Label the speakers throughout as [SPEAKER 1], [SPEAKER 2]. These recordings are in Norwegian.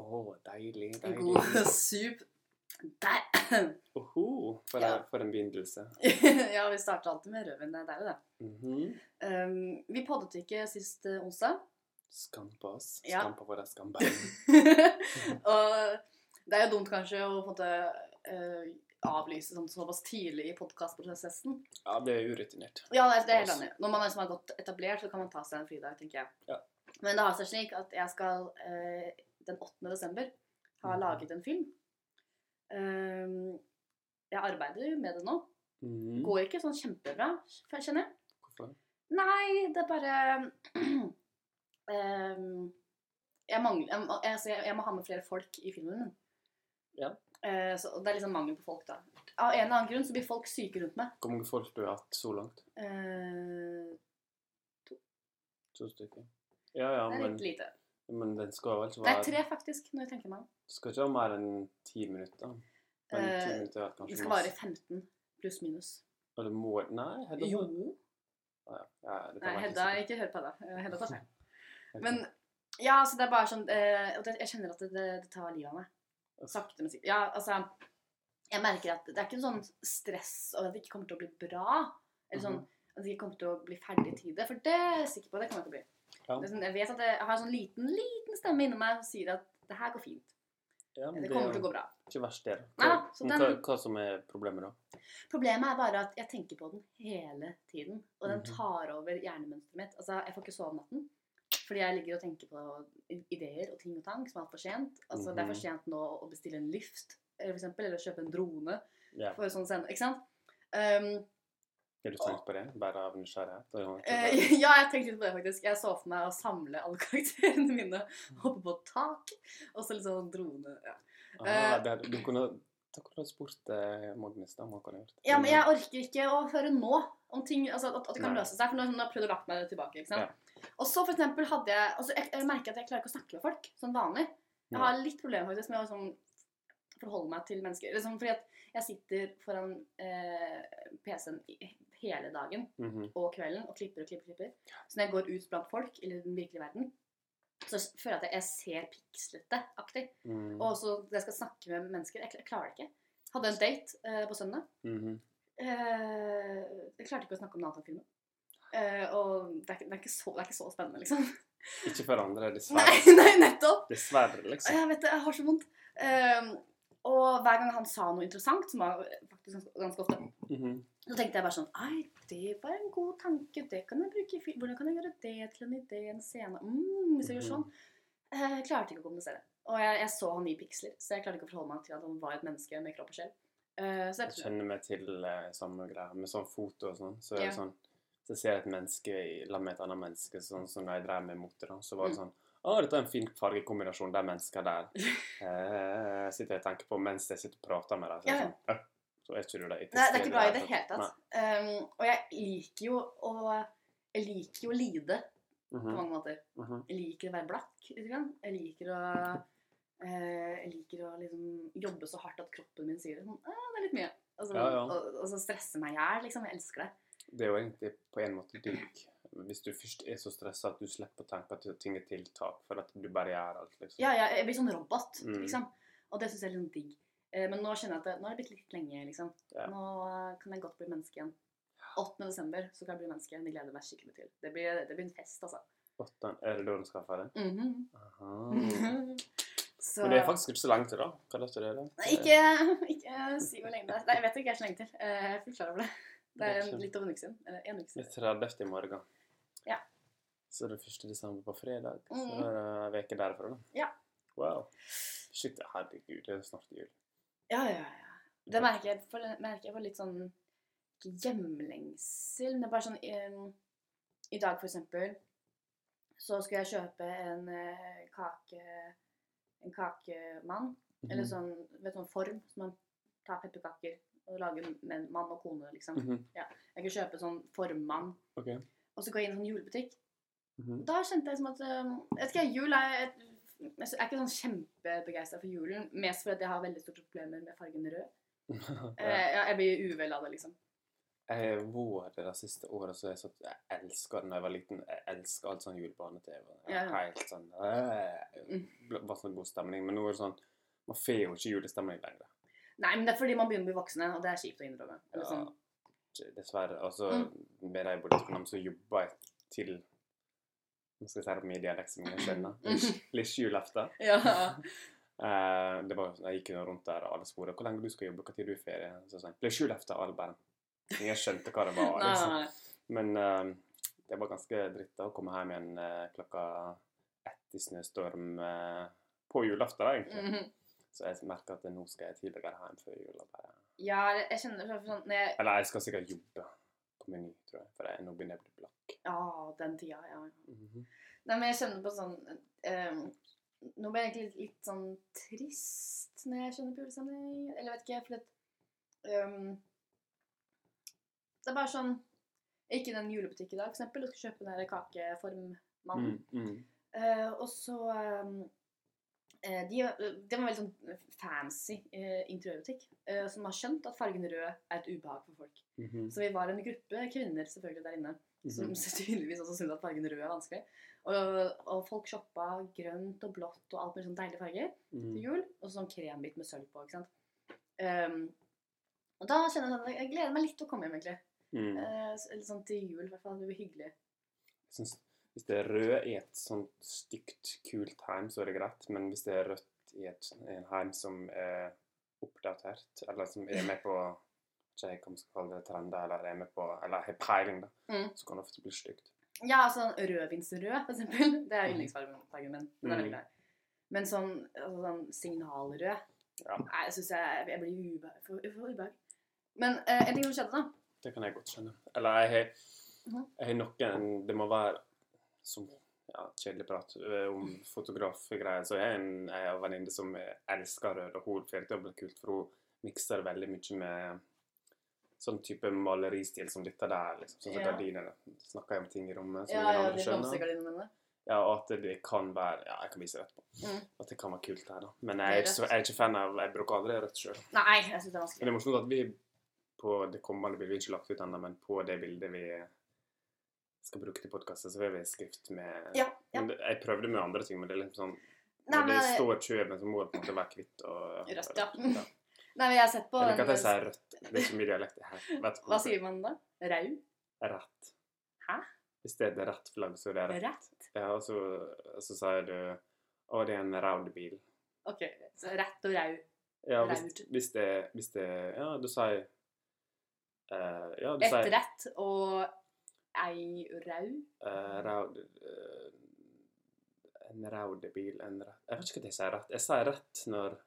[SPEAKER 1] Å, deilig,
[SPEAKER 2] En
[SPEAKER 1] deilig.
[SPEAKER 2] god sup. Der!
[SPEAKER 1] Oho, for,
[SPEAKER 2] Ja.
[SPEAKER 1] for en begynnelse.
[SPEAKER 2] ja, vi starter alltid med rødvin. Det er jo det.
[SPEAKER 1] Mhm.
[SPEAKER 2] Um, vi poddet ikke sist eh, onsdag.
[SPEAKER 1] Skam på oss.
[SPEAKER 2] Ja.
[SPEAKER 1] Skam på våre skambein.
[SPEAKER 2] og det er jo dumt kanskje å på en måte eh, avlyse sånn såpass tidlig i podkastprosessen.
[SPEAKER 1] Ja, det er urutinert.
[SPEAKER 2] Ja, det er, det er helt enig. Når man liksom har godt etablert, så kan man ta seg en fridag, tenker jeg.
[SPEAKER 1] Ja.
[SPEAKER 2] Men det har seg slik at jeg skal eh, den 8. desember ha
[SPEAKER 1] Mhm.
[SPEAKER 2] laget en film. Um, jeg arbeider med det nå.
[SPEAKER 1] Mhm.
[SPEAKER 2] Går ikke sånn kjempebra, kjenner jeg.
[SPEAKER 1] Hvorfor?
[SPEAKER 2] Nei, det er bare Ehm, jeg, mangler, jeg, må- altså, jeg, jeg må ha med flere folk i filmen min.
[SPEAKER 1] Ja.
[SPEAKER 2] Eh, så det er liksom mangel på folk, da. Av en eller annen grunn så blir folk syke rundt meg.
[SPEAKER 1] Hvor mange folk du har hatt så langt?
[SPEAKER 2] Eh,
[SPEAKER 1] To stykker. Ja, ja,
[SPEAKER 2] det er
[SPEAKER 1] men,
[SPEAKER 2] litt lite.
[SPEAKER 1] men den skal vel ikke
[SPEAKER 2] Det er
[SPEAKER 1] være
[SPEAKER 2] tre, faktisk, når jeg tenker meg om.
[SPEAKER 1] skal ikke ha mer enn ti minutter. Men ti
[SPEAKER 2] Eh,
[SPEAKER 1] minutter er
[SPEAKER 2] Det
[SPEAKER 1] kanskje
[SPEAKER 2] skal vare
[SPEAKER 1] masse.
[SPEAKER 2] 15 pluss minus.
[SPEAKER 1] Og det må Nei, Hedda.
[SPEAKER 2] Jo.
[SPEAKER 1] Ja, ja, det kan
[SPEAKER 2] Nei,
[SPEAKER 1] være
[SPEAKER 2] Hedda,
[SPEAKER 1] ikke
[SPEAKER 2] ikke hør på Hedda. Eh, Hedda tar seg.
[SPEAKER 1] sikkert.
[SPEAKER 2] Men ja, så det er bare sånn eh, og det- Jeg kjenner at det, det, det tar livet av meg. Sakte, men sikkert. Ja, altså Jeg merker at det er ikke noe sånn stress over at det ikke kommer til å bli bra. Eller sånn
[SPEAKER 1] Mhm.
[SPEAKER 2] at det ikke kommer til å bli ferdig i tide. For det er jeg sikker på. Det kommer det til å bli.
[SPEAKER 1] Ja.
[SPEAKER 2] Det er sånn, jeg vet at jeg har en sånn liten, liten stemme inni meg som sier at det her går fint.
[SPEAKER 1] ja, men
[SPEAKER 2] Det
[SPEAKER 1] det er
[SPEAKER 2] kommer til å gå bra.
[SPEAKER 1] ikke verst, det. da.
[SPEAKER 2] Nei,
[SPEAKER 1] Hva-
[SPEAKER 2] så
[SPEAKER 1] men
[SPEAKER 2] den-
[SPEAKER 1] hva, hva som er problemet, da?
[SPEAKER 2] Problemet er bare at jeg tenker på den hele tiden. Og den
[SPEAKER 1] Mhm.
[SPEAKER 2] tar over hjernemønsteret mitt. Altså, Jeg får ikke sove om natten. Fordi jeg ligger og tenker på i- ideer og ting og tang som er for sent. Altså, Det er for
[SPEAKER 1] Mhm.
[SPEAKER 2] sent nå å bestille en lift, eh, for eksempel, eller kjøpe en drone.
[SPEAKER 1] Ja.
[SPEAKER 2] for sånn send, Ikke sant? Um,
[SPEAKER 1] Er du tenkt på det? Bare av nysgjerrighet? Det er jo ikke
[SPEAKER 2] eh,
[SPEAKER 1] bare-
[SPEAKER 2] ja, jeg tenkte litt på det, faktisk. Jeg så for meg å samle alle karakterene mine,
[SPEAKER 1] Mhm.
[SPEAKER 2] hoppe på et tak, og så litt sånn drone. Ja,
[SPEAKER 1] Ah,
[SPEAKER 2] eh,
[SPEAKER 1] det er- du kunne da kunne du ha spurt eh, Magnus da, om han kan ha gjort det.
[SPEAKER 2] ja men jeg orker ikke å høre nå om ting, altså at, at det kan
[SPEAKER 1] Nei.
[SPEAKER 2] løse seg. For nå nå har jeg prøvd å lagt meg tilbake. ikke sant? Og så for eksempel hadde jeg altså jeg, jeg merker at jeg klarer ikke å snakke med folk, sånn vanlig. Jeg har litt problemer faktisk med å sånn, forholde meg til mennesker. Liksom, fordi at jeg sitter foran eh, PC-en i- hele dagen
[SPEAKER 1] Mhm.
[SPEAKER 2] og kvelden og klipper og klipper. klipper. Så når jeg går ut blant folk, eller den virkelige verden, så føler jeg at jeg- jeg ser pikslete-aktig.
[SPEAKER 1] Mhm.
[SPEAKER 2] Og også når jeg skal snakke med mennesker. Jeg, kl- jeg klarer det ikke. Hadde en date eh, på søndag.
[SPEAKER 1] Mhm.
[SPEAKER 2] Eh, jeg klarte ikke å snakke om noe annet enn filmen. Eh, og det er, ikke, det, er ikke så, det er ikke så spennende, liksom.
[SPEAKER 1] Ikke for andre,
[SPEAKER 2] Nei,
[SPEAKER 1] dessverre.
[SPEAKER 2] nei nettopp!
[SPEAKER 1] Dessverre, liksom.
[SPEAKER 2] Jeg vet det, jeg har så vondt. Eh, og hver gang han sa noe interessant, som var faktisk ganske, ganske ofte,
[SPEAKER 1] Mhm.
[SPEAKER 2] så tenkte jeg bare sånn Ei, det var en god tanke. Det kan jeg bruke i film. Hvordan kan jeg gjøre det til en idé, en scene? Mm, hvis jeg gjør sånn. Eh, Jeg klarte ikke å kommunisere. Og jeg, jeg så han i piksler, så jeg klarte ikke å forholde meg til at han var et menneske med kropp og sjel. Eh, så
[SPEAKER 1] Jeg
[SPEAKER 2] jeg,
[SPEAKER 1] kjenner meg til eh, samme greia med sånn foto og sånn. Så er det
[SPEAKER 2] Ja.
[SPEAKER 1] sånn så ser jeg et menneske i lag med et annet menneske, sånn som da jeg drev med mote, da. Så var det
[SPEAKER 2] Mm.
[SPEAKER 1] sånn Å, dette er en fin fargekombinasjon, de menneskene der. Eh, sitter jeg og tenker på mens jeg sitter og prater med dem. Så, er jeg
[SPEAKER 2] Ja, ja.
[SPEAKER 1] sånn, «Åh, så er ikke du det.
[SPEAKER 2] Nei, det er ikke bra i det hele tatt. Um, og jeg liker jo å jeg liker jo å lide på
[SPEAKER 1] Mhm,
[SPEAKER 2] mange måter.
[SPEAKER 1] mhm.
[SPEAKER 2] Jeg liker å være blakk. lite grann. Jeg liker å eh, Jeg liker å liksom jobbe så hardt at kroppen min sier sånn, «Ah, det er litt mye. Og så,
[SPEAKER 1] Ja, ja.
[SPEAKER 2] Og, og så stresse meg i hjel. Liksom. Jeg elsker det.
[SPEAKER 1] Det er jo egentlig på en måte digg. Hvis du først er så stressa at du slipper å tenke at ting er tiltak, for at du bare gjør alt, liksom.
[SPEAKER 2] Ja, ja, jeg blir sånn robot,
[SPEAKER 1] Mm.
[SPEAKER 2] liksom. Og det syns jeg er litt sånn digg. Eh, Men nå kjenner jeg at det, nå har det blitt litt lenge, liksom.
[SPEAKER 1] Ja.
[SPEAKER 2] Nå eh, kan jeg godt bli menneske igjen. 8. desember så kan jeg bli menneske. Det gleder jeg meg skikkelig til. Det blir, det blir en fest, altså.
[SPEAKER 1] Åttan- Er det da du skal ha ferdig?
[SPEAKER 2] Mhm.
[SPEAKER 1] Aha.
[SPEAKER 2] Mm. Så
[SPEAKER 1] Men det er faktisk ikke så langt til, da. Hva er det til det? da?
[SPEAKER 2] Nei, ikke, ikke si hvor lenge det er. Nei, jeg vet ikke jeg er så lenge til. Eh, Jeg er fullt klar over det. Det er en, litt over en uke siden. Eller en uke
[SPEAKER 1] Det er
[SPEAKER 2] siden.
[SPEAKER 1] 30. i morgen.
[SPEAKER 2] Ja.
[SPEAKER 1] Så det er 1. desember på fredag. Så
[SPEAKER 2] Mhm.
[SPEAKER 1] er det en uke derfra, da.
[SPEAKER 2] Ja.
[SPEAKER 1] Wow. Shit, herregud, det er snart jul.
[SPEAKER 2] Ja, ja, ja. Det merker jeg for, merker jeg for litt sånn Ikke hjemlengsel, men det er bare sånn em, I dag, for eksempel, så skulle jeg kjøpe en eh, kake En kakemann. Eller
[SPEAKER 1] Mm. Mhm.
[SPEAKER 2] sånn, vet du, sånn form som man tar pepperkaker og lager med mann og kone, liksom.
[SPEAKER 1] Mhm.
[SPEAKER 2] Jeg kunne kjøpe sånn formmann.
[SPEAKER 1] Ok.
[SPEAKER 2] Og så går jeg inn i en sånn julebutikk.
[SPEAKER 1] Mhm.
[SPEAKER 2] Da kjente jeg som at øhm, Jeg vet ikke, jul er et, Jeg er ikke sånn kjempebegeistra for julen. Mest fordi at jeg har veldig store problemer med fargen rød. Eh,
[SPEAKER 1] ja.
[SPEAKER 2] ja, jeg blir uvel av det, liksom.
[SPEAKER 1] Jeg har vært det de siste årene, så jeg, satt, jeg elsker det da jeg var liten. Jeg elsker alt sånn julebane-TV. Jeg er
[SPEAKER 2] Ja. Mm.
[SPEAKER 1] Helt sånn øh, det var sånn god stemning, men nå er det sånn Man får jo ikke julestemning lenger.
[SPEAKER 2] Nei, men det er fordi man begynner å bli voksne, og det er kjipt å innrømme. Eller
[SPEAKER 1] Ja,
[SPEAKER 2] sånn.
[SPEAKER 1] Dessverre. Altså,
[SPEAKER 2] Mm.
[SPEAKER 1] med de politikkene som jobber jeg til Nå skal jeg si det med dialekt som jeg skjønner. Lille julaften.
[SPEAKER 2] Mm. Ja.
[SPEAKER 1] Eh, det var, jeg gikk jo rundt der, og alle spurte hvor lenge du skal jobbe, når du har ferie. Så sa jeg det er julaften, og alle bare Ingen skjønte hva det var.
[SPEAKER 2] Nei,
[SPEAKER 1] liksom.
[SPEAKER 2] nei, nei.
[SPEAKER 1] Men eh, det var ganske dritt da, å komme hjem igjen eh, klokka ett i snøstorm eh, på julaften, da, egentlig.
[SPEAKER 2] Mhm.
[SPEAKER 1] Så jeg merker at nå skal jeg tidligere hjem før jul. og Bare.
[SPEAKER 2] Ja, jeg jeg kjenner sånn- sånn når jeg,
[SPEAKER 1] Eller jeg skal sikkert jobbe på Meny, tror jeg, for jeg, nå begynner jeg å bli blakk.
[SPEAKER 2] Ja, den tida, ja. Nei, men jeg kjenner på sånn ehm, Nå ble jeg egentlig litt, litt sånn trist når jeg kjenner på julestemning. Eller jeg vet ikke, for at ehm, Det er bare sånn Jeg gikk i den julebutikken i dag, for eksempel, og skulle kjøpe den der kakeformmannen.
[SPEAKER 1] Mm, mm.
[SPEAKER 2] Eh, og så ehm, eh, de, Det var en veldig sånn fancy eh, interiørbutikk eh, som har skjønt at fargen rød er et ubehag for folk.
[SPEAKER 1] Mhm,
[SPEAKER 2] Så vi var en gruppe kvinner selvfølgelig der inne som
[SPEAKER 1] mhm.
[SPEAKER 2] tydeligvis også syntes at fargen rød er vanskelig. Og, og folk shoppa grønt og blått og alt mulig sånn deilige farger til
[SPEAKER 1] Mm.
[SPEAKER 2] jul. Og så sånn krembit med sølv på. ikke sant? Ehm, og da kjenner jeg sånn at jeg gleder meg litt til å komme hjem, egentlig.
[SPEAKER 1] Mm.
[SPEAKER 2] Eh, så- eller sånn til jul, i hvert fall. Det blir hyggelig.
[SPEAKER 1] Jeg synes, hvis det er rød i et sånt stygt, kult heim, så er det greit. Men hvis det er rødt i et en heim som er oppdatert, eller som er med på ikke jeg hva man skal kalle det, trender, eller er med på, eller har peiling, da,
[SPEAKER 2] Mm.
[SPEAKER 1] så kan det ofte bli stygt.
[SPEAKER 2] Ja, sånn rødvinsrød, for eksempel. Det er
[SPEAKER 1] Mm.
[SPEAKER 2] yndlingsfargen min. Den er veldig
[SPEAKER 1] Mm.
[SPEAKER 2] glad. i. Men sånn, altså, sånn signalrød
[SPEAKER 1] Ja.
[SPEAKER 2] Nei, jeg syns jeg, jeg blir ube- for for ubehag. Men eh, en ting som skjedde, da.
[SPEAKER 1] Det kan jeg godt skjønne. Eller jeg har,
[SPEAKER 2] Mhm.
[SPEAKER 1] jeg har noen Det må være som ja, kjedelig prat eh, om fotografgreier. Så jeg har en, jeg har en venninne som elsker rød, og hun får det til å bli kult, for hun mikser veldig mye med sånn type maleristil som dette der, liksom. Sånn som
[SPEAKER 2] Ja.
[SPEAKER 1] gardiner. Snakker jeg om ting i rommet som
[SPEAKER 2] Ja,
[SPEAKER 1] ingen
[SPEAKER 2] ja,
[SPEAKER 1] andre
[SPEAKER 2] de
[SPEAKER 1] skjønner.
[SPEAKER 2] blomstergardinene mine.
[SPEAKER 1] Ja, og at det kan være Ja, jeg kan vise det etterpå.
[SPEAKER 2] Mhm.
[SPEAKER 1] At det kan være kult her, da. Men
[SPEAKER 2] Det
[SPEAKER 1] jeg
[SPEAKER 2] er
[SPEAKER 1] er ikke, så-
[SPEAKER 2] rødt.
[SPEAKER 1] jeg er ikke fan av Jeg bruker aldri rødt sjøl.
[SPEAKER 2] Nei, jeg syns det
[SPEAKER 1] Men
[SPEAKER 2] er
[SPEAKER 1] det
[SPEAKER 2] vanskelig.
[SPEAKER 1] er morsomt at vi på det kommende bildet, vi har ikke lagt ut ennå, men på det bildet vi skal bruke til podkasten, så vil vi skrift med
[SPEAKER 2] Ja, ja.
[SPEAKER 1] Men det, Jeg prøvde med andre ting, men det er liksom sånn
[SPEAKER 2] Nei,
[SPEAKER 1] Når
[SPEAKER 2] men,
[SPEAKER 1] det står Kjøben, så må det på en måte være kvitt og
[SPEAKER 2] Rødt, ja. nei, men jeg har sett på
[SPEAKER 1] Jeg liker at
[SPEAKER 2] den
[SPEAKER 1] jeg sier rødt. Det er ikke mye dialekt her. Vet du
[SPEAKER 2] Hva sier man da? Rau?
[SPEAKER 1] Rett.
[SPEAKER 2] Hæ?
[SPEAKER 1] Hvis det er et rett flagg, så er det rett.
[SPEAKER 2] Rett?
[SPEAKER 1] Ja, og så, og så sier du Å, det er en raud bil.
[SPEAKER 2] OK. Så rett og rau.
[SPEAKER 1] Ja, hvis,
[SPEAKER 2] Raud.
[SPEAKER 1] hvis, det, hvis det Ja, du sier eh, Ja, du
[SPEAKER 2] Et
[SPEAKER 1] sier
[SPEAKER 2] rett og ei rau.
[SPEAKER 1] Eh, raud, eh, en raudebil, en rett Jeg vet ikke hva jeg sier rett. Jeg sier rett når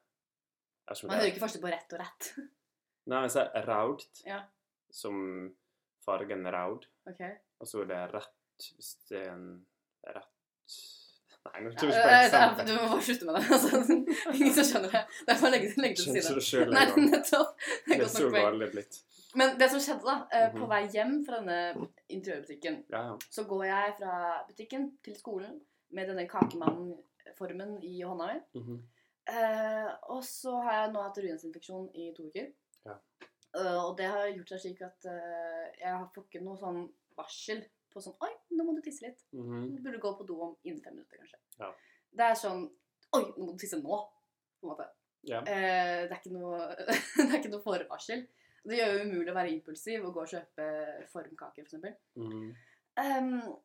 [SPEAKER 1] jeg vet ikke om det
[SPEAKER 2] Man hører
[SPEAKER 1] er-
[SPEAKER 2] ikke forskjell på rett og rett.
[SPEAKER 1] Nei, jeg sier raud
[SPEAKER 2] Ja.
[SPEAKER 1] som fargen raud,
[SPEAKER 2] OK.
[SPEAKER 1] og så er det rett hvis det er en rett Nei, nå
[SPEAKER 2] Ja,
[SPEAKER 1] tror jeg ikke på
[SPEAKER 2] eh, du
[SPEAKER 1] eksempel.
[SPEAKER 2] må bare slutte med det. Altså, ingen som skjønner det. Det er bare å legge det legge det til
[SPEAKER 1] Skjønner
[SPEAKER 2] side.
[SPEAKER 1] det sjøl
[SPEAKER 2] Nei,
[SPEAKER 1] en gang.
[SPEAKER 2] nettopp. Det
[SPEAKER 1] Det
[SPEAKER 2] er
[SPEAKER 1] er
[SPEAKER 2] godt
[SPEAKER 1] så
[SPEAKER 2] nok poeng.
[SPEAKER 1] galt blitt.
[SPEAKER 2] Men det som skjedde, da, eh, på
[SPEAKER 1] Mhm.
[SPEAKER 2] vei hjem fra denne interiørbutikken
[SPEAKER 1] Ja, ja.
[SPEAKER 2] Så går jeg fra butikken til skolen med denne kakemannformen i hånda mi.
[SPEAKER 1] Mhm.
[SPEAKER 2] Eh, og så har jeg nå hatt ruinsinfeksjon i to uker.
[SPEAKER 1] Ja.
[SPEAKER 2] Eh, og det har gjort seg slik at eh, jeg har får ikke noe sånn varsel på sånn Oi, nå må du tisse litt.
[SPEAKER 1] Mhm.
[SPEAKER 2] Du burde gå på do om innen fem minutter, kanskje.
[SPEAKER 1] Ja.
[SPEAKER 2] Det er sånn Oi, nå må du tisse nå! På en måte.
[SPEAKER 1] Ja.
[SPEAKER 2] Eh, det, er ikke noe, det er ikke noe forvarsel. Det gjør jo umulig å være impulsiv og gå og kjøpe formkake, for eksempel.
[SPEAKER 1] Mhm.
[SPEAKER 2] Ehm,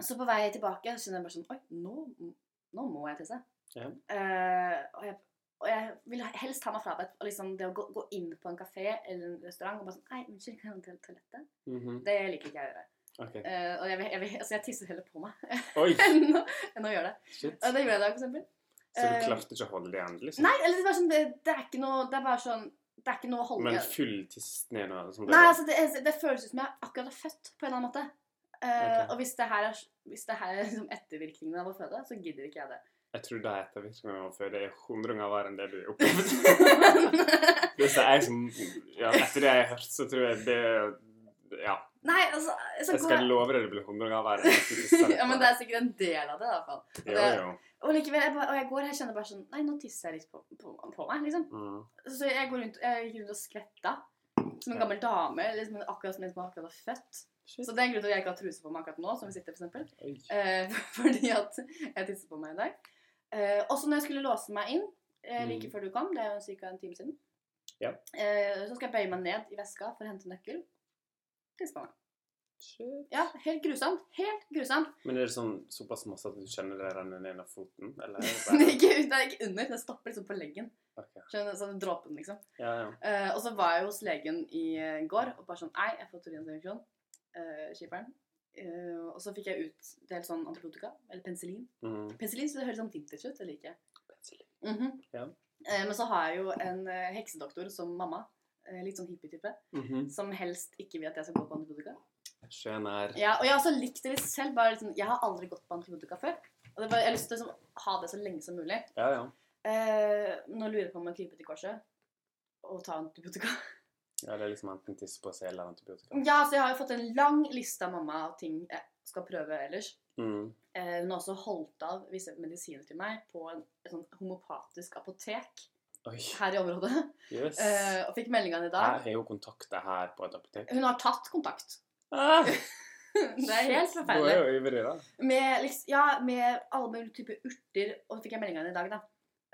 [SPEAKER 2] så på vei tilbake så kjenner jeg bare sånn Oi, nå, nå må jeg tisse.
[SPEAKER 1] Ja.
[SPEAKER 2] Eh, og, jeg, og jeg vil helst ha meg frabedt og liksom det å gå, gå inn på en kafé eller en restaurant og bare sånn Nei, unnskyld, kan jeg gå til toalettet?
[SPEAKER 1] Mhm.
[SPEAKER 2] Det liker ikke jeg å gjøre.
[SPEAKER 1] OK.
[SPEAKER 2] Eh, og jeg, vil- jeg, vil- altså jeg tisser heller på meg
[SPEAKER 1] Oi,
[SPEAKER 2] enn å, enn å gjøre det.
[SPEAKER 1] shit.
[SPEAKER 2] Og det
[SPEAKER 1] Så
[SPEAKER 2] gjorde jeg i dag, for eksempel.
[SPEAKER 1] du
[SPEAKER 2] Eh,
[SPEAKER 1] klarte ikke å holde det igjen, liksom?
[SPEAKER 2] Nei, eller det var sånn Det, det er ikke noe Det er bare sånn Det er ikke noe å holde
[SPEAKER 1] Men
[SPEAKER 2] igjen.
[SPEAKER 1] full tiss ned nå? Liksom
[SPEAKER 2] Nei, altså det, det føles ut som jeg akkurat er født, på en eller annen måte. Eh,
[SPEAKER 1] Ok.
[SPEAKER 2] Og hvis det her er, hvis det her er liksom ettervirkningene av å føde, så gidder ikke jeg det.
[SPEAKER 1] Jeg tror de ettervirkningene man før, det er hundre ganger verre enn det du har opplevd.
[SPEAKER 2] Men-
[SPEAKER 1] det er jeg som, ja, etter det jeg har hørt, så tror jeg det Ja.
[SPEAKER 2] Nei, altså så
[SPEAKER 1] Jeg
[SPEAKER 2] går
[SPEAKER 1] skal
[SPEAKER 2] jeg-
[SPEAKER 1] love deg det blir hundre ganger verre. enn det du selv
[SPEAKER 2] Ja, men det
[SPEAKER 1] har.
[SPEAKER 2] er sikkert en del av det, i hvert fall.
[SPEAKER 1] Jo, jo.
[SPEAKER 2] Og likevel, jeg, bare, og jeg går her og kjenner bare sånn Nei, nå tisser jeg litt på, på, på meg, liksom.
[SPEAKER 1] Mm.
[SPEAKER 2] Så jeg går rundt, jeg gikk rundt og skvetta. Som en gammel dame, liksom akkurat som en som akkurat er født.
[SPEAKER 1] Shit.
[SPEAKER 2] Så det er en grunn til at jeg ikke har truse på meg akkurat nå, som vi sitter, for eksempel.
[SPEAKER 1] Oi.
[SPEAKER 2] Eh, fordi at jeg tisser på meg i dag. Eh, også når jeg skulle låse meg inn eh, like
[SPEAKER 1] Mm.
[SPEAKER 2] før du kom, det er jo ca. en time siden,
[SPEAKER 1] Ja.
[SPEAKER 2] eh, så skal jeg bøye meg ned i veska for å hente nøkkel. Det skal man.
[SPEAKER 1] Shit.
[SPEAKER 2] Ja, helt grusomt. Helt grusomt.
[SPEAKER 1] Men er det sånn såpass masse at du kjenner det renner ned av foten? Eller er det bare
[SPEAKER 2] Det er ikke, det er ikke under, det stopper liksom på leggen.
[SPEAKER 1] Ok.
[SPEAKER 2] Skjønner, sånn dråpen, liksom.
[SPEAKER 1] Ja, ja.
[SPEAKER 2] Eh, og så var jeg hos legen i eh, går og bare sånn Nei, jeg har fått urinveisinfeksjon. Uh, Skipperen. Eh, og så fikk jeg utdelt sånn antibiotika, eller penicillin.
[SPEAKER 1] Mm.
[SPEAKER 2] Penicillin så det høres sånn vintage ut, det liker jeg. Mhm.
[SPEAKER 1] Ja.
[SPEAKER 2] Eh, men så har jeg jo en eh, heksedoktor som mamma. eh, litt sånn hippie-type.
[SPEAKER 1] Mhm.
[SPEAKER 2] Som helst ikke vil at jeg skal gå på antibiotika.
[SPEAKER 1] Sjøen er
[SPEAKER 2] Ja, og jeg har også likt det litt selv. bare liksom, Jeg har aldri gått på antibiotika før. Og det var, jeg har lyst til å liksom, ha det så lenge som mulig.
[SPEAKER 1] Ja, ja.
[SPEAKER 2] Eh, nå lurer jeg på om jeg kryper til korset og tar antibiotika.
[SPEAKER 1] ja det er liksom enten tisse på seg eller antibiotika.
[SPEAKER 2] Ja, så jeg har jo fått en lang liste av mamma av ting jeg skal prøve ellers.
[SPEAKER 1] Mm.
[SPEAKER 2] Eh, hun har også holdt av visse medisiner til meg på en, et sånn homopatisk apotek
[SPEAKER 1] Oi.
[SPEAKER 2] her i området.
[SPEAKER 1] Jøss.
[SPEAKER 2] Eh, og fikk meldingene i
[SPEAKER 1] Jeg
[SPEAKER 2] dag.
[SPEAKER 1] har jo kontakta her på et apotek.
[SPEAKER 2] Hun har tatt kontakt.
[SPEAKER 1] Ah,
[SPEAKER 2] Det er helt
[SPEAKER 1] shit, Du er
[SPEAKER 2] forferdelig.
[SPEAKER 1] jo ivrig, da.
[SPEAKER 2] Med, liksom, ja, med alle mulige typer urter, og så fikk jeg meldingene i dag, da.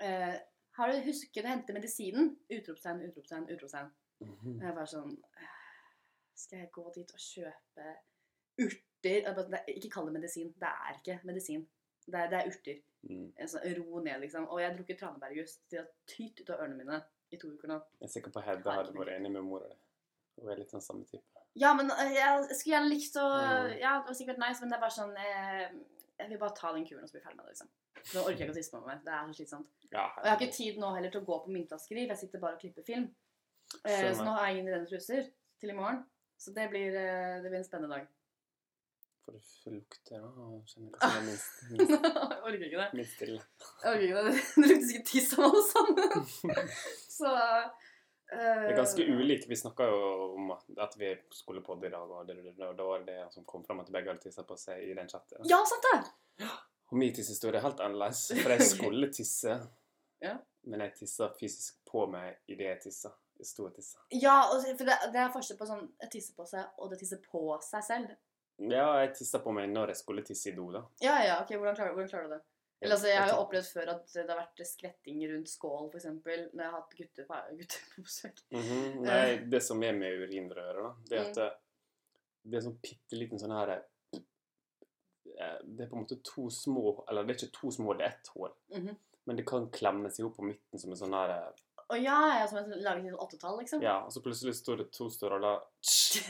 [SPEAKER 2] Eh, har du husket å hente medisinen? Utropstegn, utropstegn, utropstegn. Og
[SPEAKER 1] Mhm.
[SPEAKER 2] Jeg var sånn «Øh, Skal jeg gå dit og kjøpe urter? Jeg bare, «Nei, Ikke kall det medisin. Det er ikke medisin. Det er, det er urter.
[SPEAKER 1] Mm.
[SPEAKER 2] En sånn ro ned, liksom. Og jeg har drukket tranebærjus til å tyte ut av ørene mine i to uker nå.
[SPEAKER 1] Jeg er sikker på Hedda hadde vært enig med mora di. Hun er litt sånn samme type.
[SPEAKER 2] Ja, men øh, jeg skulle gjerne likt å
[SPEAKER 1] Mm.
[SPEAKER 2] Ja, det var sikkert nice, men det er bare sånn eh, Jeg vil bare ta den kuren og så bli ferdig med det, liksom. Nå orker jeg ikke å tisse på meg. Det er så slitsomt.
[SPEAKER 1] Ja,
[SPEAKER 2] Og jeg har ikke tid nå heller til å gå på myntvaskeri, for jeg sitter bare og klipper film. Eh, så
[SPEAKER 1] Skjønner.
[SPEAKER 2] nå har jeg ingen rene truser til i morgen. Så det blir, eh, det blir en spennende dag.
[SPEAKER 1] For det lukter og kjenner hva som er minst, minst,
[SPEAKER 2] Jeg orker ikke det.
[SPEAKER 1] minst ille.
[SPEAKER 2] Jeg orker ikke det. Det lukter sikkert tiss av alle sammen. Så eh,
[SPEAKER 1] Det er ganske ulik. Vi snakka jo om at, at vi skulle podde i dag, og det, det, og det var det som kom fram at begge hadde tissa på seg i den chatten.
[SPEAKER 2] Ja, sant det!
[SPEAKER 1] Og min tissehistorie er helt annerledes, for jeg skulle tisse,
[SPEAKER 2] Ja.
[SPEAKER 1] men jeg tissa fysisk på meg idet jeg tissa. Jeg sto og tissa.
[SPEAKER 2] Ja, og, for det, det er forskjell på sånn tisse på seg og det tisse på seg selv.
[SPEAKER 1] Ja, jeg tissa på meg når jeg skulle tisse i do, da.
[SPEAKER 2] Ja, ja, ok, hvordan klarer, hvordan klarer du det? Eller altså, Jeg har jo opplevd før at det har vært skvetting rundt skål, f.eks. Når jeg har hatt gutter på, gutter på besøk. Eh.
[SPEAKER 1] Mhm. Nei, det som er med urinrøret, da, det er
[SPEAKER 2] Mm.
[SPEAKER 1] at det, det er sånn bitte liten sånn her eh, Det er på en måte to små Eller det er ikke to små, det er ett hår.
[SPEAKER 2] Mhm.
[SPEAKER 1] Men det kan klemme seg opp på midten som en sånn her eh,
[SPEAKER 2] Og ja, jeg har sånn- laget et åttetall, liksom.
[SPEAKER 1] Ja, og så plutselig står det to stråler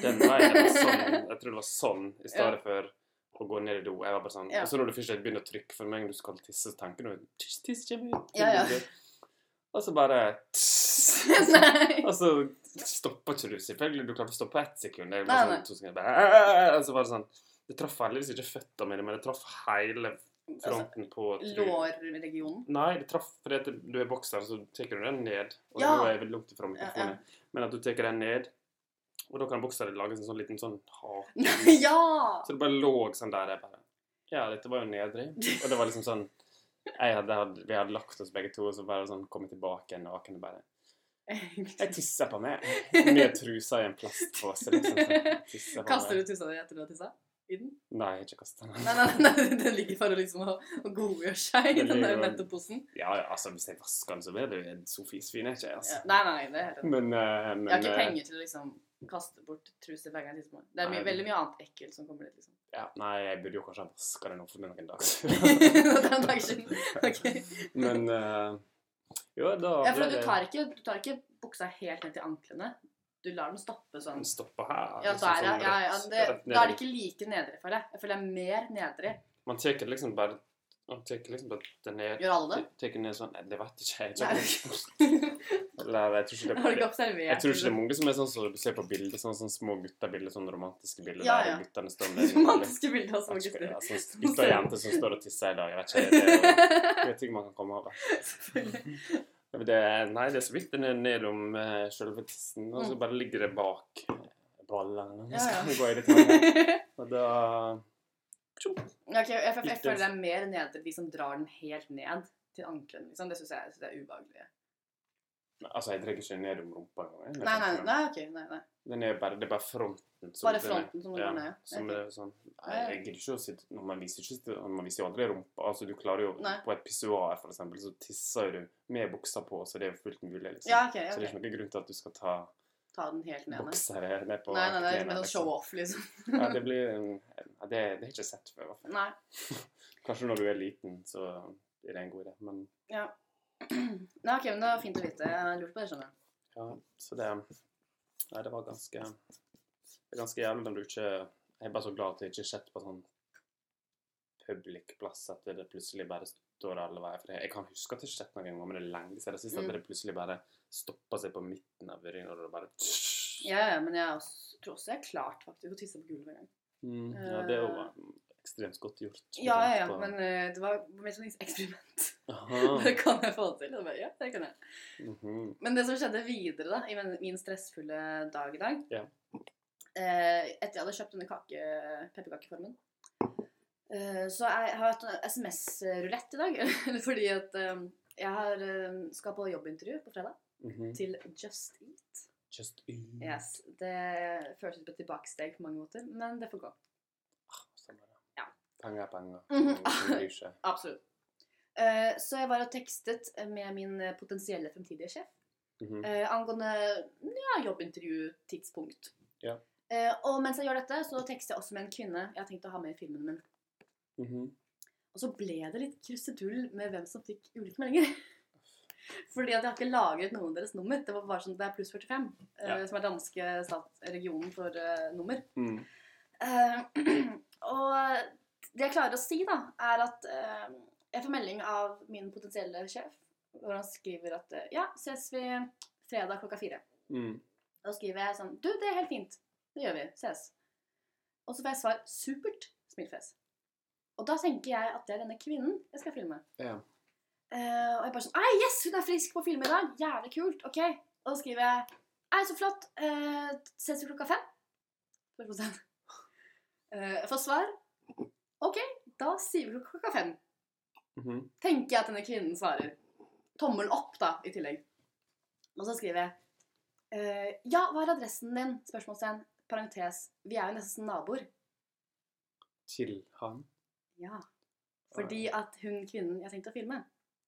[SPEAKER 1] den veien. eller Sånn. Jeg tror det var sånn i stedet for å gå ned i do. Jeg var bare sånn,
[SPEAKER 2] Ja.
[SPEAKER 1] Og så når du først begynner å trykke for meg, du skal tisse, så tenker du Tiss, tiss kommer ut.
[SPEAKER 2] Ja, ja.
[SPEAKER 1] Og så bare tss.
[SPEAKER 2] Nei.
[SPEAKER 1] Og så Altså, stopper ikke du, selvfølgelig. Du klarer å stoppe ett sekund. Det er
[SPEAKER 2] Nei,
[SPEAKER 1] bare
[SPEAKER 2] nei.
[SPEAKER 1] sånn, to sekunder, bare, og så var det sånn Det traff heldigvis ikke føttene mine, men det traff hele
[SPEAKER 2] Altså,
[SPEAKER 1] fronten på trynet.
[SPEAKER 2] Lårregionen.
[SPEAKER 1] Nei, det traff fordi at du er bokser, så tar du den ned. Og
[SPEAKER 2] Ja.
[SPEAKER 1] nå er jeg veldig langt ifra
[SPEAKER 2] Ja,
[SPEAKER 1] mikrofonen. Men at du tar den ned, og da kan bokseren lage en sånn liten sånn hake.
[SPEAKER 2] ja!
[SPEAKER 1] Så det bare lå sånn der. Jeg bare Ja, dette var jo nedrig. Og det var liksom sånn jeg hadde, hadde, Vi hadde lagt oss begge to, og så bare sånn kom jeg tilbake igjen naken og bare Jeg tissa på meg. Med trusa i en plastpose. Liksom, sånn. Tissa på
[SPEAKER 2] Kaster
[SPEAKER 1] meg.
[SPEAKER 2] du tussa di etter du har tissa? I den?
[SPEAKER 1] Nei, jeg har ikke kasta den.
[SPEAKER 2] Nei, nei, nei, den ligger for å liksom å, å godgjøre seg i
[SPEAKER 1] Den
[SPEAKER 2] den der
[SPEAKER 1] ligger-
[SPEAKER 2] nettoposen.
[SPEAKER 1] Ja, ja, altså, hvis jeg vasker den, så blir det jo en Sofies fine, ikke jeg,
[SPEAKER 2] Ja.
[SPEAKER 1] altså.
[SPEAKER 2] Nei, nei, det er helt enig.
[SPEAKER 1] Men, eh, men
[SPEAKER 2] Jeg har ikke
[SPEAKER 1] eh,
[SPEAKER 2] penger til å liksom kaste bort truser hver gang jeg tisser på meg. Det er mye,
[SPEAKER 1] Nei.
[SPEAKER 2] veldig mye annet ekkelt som kommer dit, liksom.
[SPEAKER 1] Ja, nei, jeg burde jo kanskje ha vaska det nå for noen dager
[SPEAKER 2] det
[SPEAKER 1] siden.
[SPEAKER 2] er en dag siden. Ok.
[SPEAKER 1] Men eh, jo, da
[SPEAKER 2] Ja, for du tar, ikke, du tar ikke buksa helt ned til anklene. Du lar den stoppe sånn.
[SPEAKER 1] den stoppa her.
[SPEAKER 2] Ja,
[SPEAKER 1] liksom,
[SPEAKER 2] der, ja.
[SPEAKER 1] sånn
[SPEAKER 2] ja, ja
[SPEAKER 1] rett-
[SPEAKER 2] det,
[SPEAKER 1] rett ned.
[SPEAKER 2] da er det ikke like nedre, føler jeg. Jeg føler det er mer nedre.
[SPEAKER 1] Man tar liksom bare Man tar liksom bare det ned
[SPEAKER 2] Gjør alle det?
[SPEAKER 1] Tar ned sånn Nei, det vet ikke jeg.
[SPEAKER 2] Nei.
[SPEAKER 1] Ikke. Eller, jeg tror ikke
[SPEAKER 2] Har du
[SPEAKER 1] det
[SPEAKER 2] ikke observert?
[SPEAKER 1] jeg tror ikke det er mange som er sånn som du ser på bilder, sånn, sånn små guttabilder, sånn romantiske bilder
[SPEAKER 2] Ja, ja.
[SPEAKER 1] der guttene står med
[SPEAKER 2] Romantiske bilder av små
[SPEAKER 1] Jeg vet ikke,
[SPEAKER 2] gutter.
[SPEAKER 1] ja, sånn Gutter og jenter som står og tisser i dag. Jeg vet ikke, det er jo, jeg vet ikke om man kan komme over.
[SPEAKER 2] Selvfølgelig.
[SPEAKER 1] Ja, men Det, nei, det er så vidt den er ned om eh, selve tissen, og så bare ligger det bak eh, ballene.
[SPEAKER 2] Mm. Ja,
[SPEAKER 1] Ja, ja.
[SPEAKER 2] ja.
[SPEAKER 1] Gå i detalj. Og da
[SPEAKER 2] Ok, jeg, jeg, jeg
[SPEAKER 1] Litt
[SPEAKER 2] føler det er mer nedre de som drar den helt ned til ankelen. Liksom. Det syns jeg, jeg synes det er ubehagelig.
[SPEAKER 1] Altså, jeg drar ikke ned om rumpa engang. jeg.
[SPEAKER 2] Nei, nei, nei, ok, nei, nei.
[SPEAKER 1] Den er bare, det er bare front, fronten. som
[SPEAKER 2] Bare
[SPEAKER 1] den er-
[SPEAKER 2] fronten som går
[SPEAKER 1] ja,
[SPEAKER 2] ned.
[SPEAKER 1] Som
[SPEAKER 2] Ok.
[SPEAKER 1] er sånn Nei, jeg gidder ikke å sitte når Man viser ikke sitte- Man viser jo aldri rumpa. Altså, du klarer jo
[SPEAKER 2] Nei.
[SPEAKER 1] På et pissoar, for eksempel, så tisser du med buksa på, så det er jo fullt mulig, liksom.
[SPEAKER 2] Ja,
[SPEAKER 1] Så
[SPEAKER 2] ok.
[SPEAKER 1] det er
[SPEAKER 2] ok.
[SPEAKER 1] ikke noen grunn til at du skal ta
[SPEAKER 2] Ta den helt ned. Nei,
[SPEAKER 1] boksere ned på
[SPEAKER 2] nei, nei, det er
[SPEAKER 1] knærne,
[SPEAKER 2] mer sånn
[SPEAKER 1] liksom.
[SPEAKER 2] show-off, liksom.
[SPEAKER 1] Ja, det blir en- ja, Det, det har jeg ikke sett før, i hvert fall.
[SPEAKER 2] Nei.
[SPEAKER 1] Kanskje når du er liten, så er det en god idé, men
[SPEAKER 2] Ja. Nei, ok, men det var fint å vite. Jeg lurte på det, skjønner du.
[SPEAKER 1] ja, så det Nei, det var ganske Det er ganske jævlig når du ikke Jeg er bare så glad at det ikke har skjedd på sånn public plass, at det plutselig bare står alle veier. For jeg, jeg kan huske at det har skjedd noen ganger, men det er lenge siden. Jeg synes
[SPEAKER 2] Mm.
[SPEAKER 1] at det plutselig bare stopper seg på midten av ryggen, og det bare
[SPEAKER 2] Ja, ja, men jeg er også, tror også jeg har klart faktisk å tisse på gulvet en gang.
[SPEAKER 1] mm, Ja, det er jo um, ekstremt godt gjort. med
[SPEAKER 2] Ja,
[SPEAKER 1] tanke
[SPEAKER 2] ja, ja,
[SPEAKER 1] på- Ah.
[SPEAKER 2] men eh, det var mer sånn eksperiment.
[SPEAKER 1] Aha.
[SPEAKER 2] Det kan jeg få til. Og jeg bare, ja, det kan jeg.
[SPEAKER 1] mhm.
[SPEAKER 2] Men det som skjedde videre da, i min- min stressfulle dag i dag
[SPEAKER 1] Ja.
[SPEAKER 2] eh, Etter jeg hadde kjøpt denne kake, pepperkakeformen eh, Så jeg har hatt en SMS-rulett i dag. fordi at eh, jeg har, eh, skal på jobbintervju på fredag
[SPEAKER 1] Mhm.
[SPEAKER 2] til Just Eat.
[SPEAKER 1] Just eat.
[SPEAKER 2] Yes, Det føles som et tilbakesteg på mange måter, men det får gå.
[SPEAKER 1] Stemmer det.
[SPEAKER 2] Ja.
[SPEAKER 1] Penger er penger.
[SPEAKER 2] Mhm.
[SPEAKER 1] Ingen bryr seg.
[SPEAKER 2] Absolutt. Eh, Så jeg var og tekstet med min eh, potensielle fremtidige sjef.
[SPEAKER 1] Mhm.
[SPEAKER 2] Eh, angående ja, jobbintervjutidspunkt.
[SPEAKER 1] Ja.
[SPEAKER 2] Eh, og mens jeg gjør dette, så tekster jeg også med en kvinne jeg har tenkt å ha med i filmen min.
[SPEAKER 1] Mhm.
[SPEAKER 2] Og så ble det litt krusedull med hvem som fikk ulike meldinger. Fordi at jeg har ikke lagret noen deres nummer. Det var bare sånn, det er pluss 45, eh,
[SPEAKER 1] Ja.
[SPEAKER 2] som er danske stat, regionen for eh, nummer.
[SPEAKER 1] Mm.
[SPEAKER 2] Eh, og det jeg klarer å si, da, er at eh, jeg får melding av min potensielle sjef, hvor han skriver at eh, ja, ses vi fredag klokka fire.
[SPEAKER 1] Mm.
[SPEAKER 2] Da skriver jeg sånn Du, det er helt fint. Det gjør vi. Ses. Og så får jeg svar supert smilefjes. Og da tenker jeg at det er denne kvinnen jeg skal filme.
[SPEAKER 1] Ja.
[SPEAKER 2] Eh, og jeg bare sånn Ei, yes, hun er frisk på å filme i dag! Jævlig kult. OK. Og så skriver jeg Ei, så flott. Eh, ses vi klokka fem? Spørsmålstegn. Eh, jeg får svar. OK, da sier vi klokka fem.
[SPEAKER 1] Mhm.
[SPEAKER 2] Tenker jeg at denne kvinnen svarer. Tommel opp, da, i tillegg. Og så skriver jeg eh, Ja, hva er adressen din? Spørsmålstegn. Parentes. Vi er jo nesten naboer.
[SPEAKER 1] Til han.
[SPEAKER 2] Ja. Fordi at hun kvinnen jeg tenkte å filme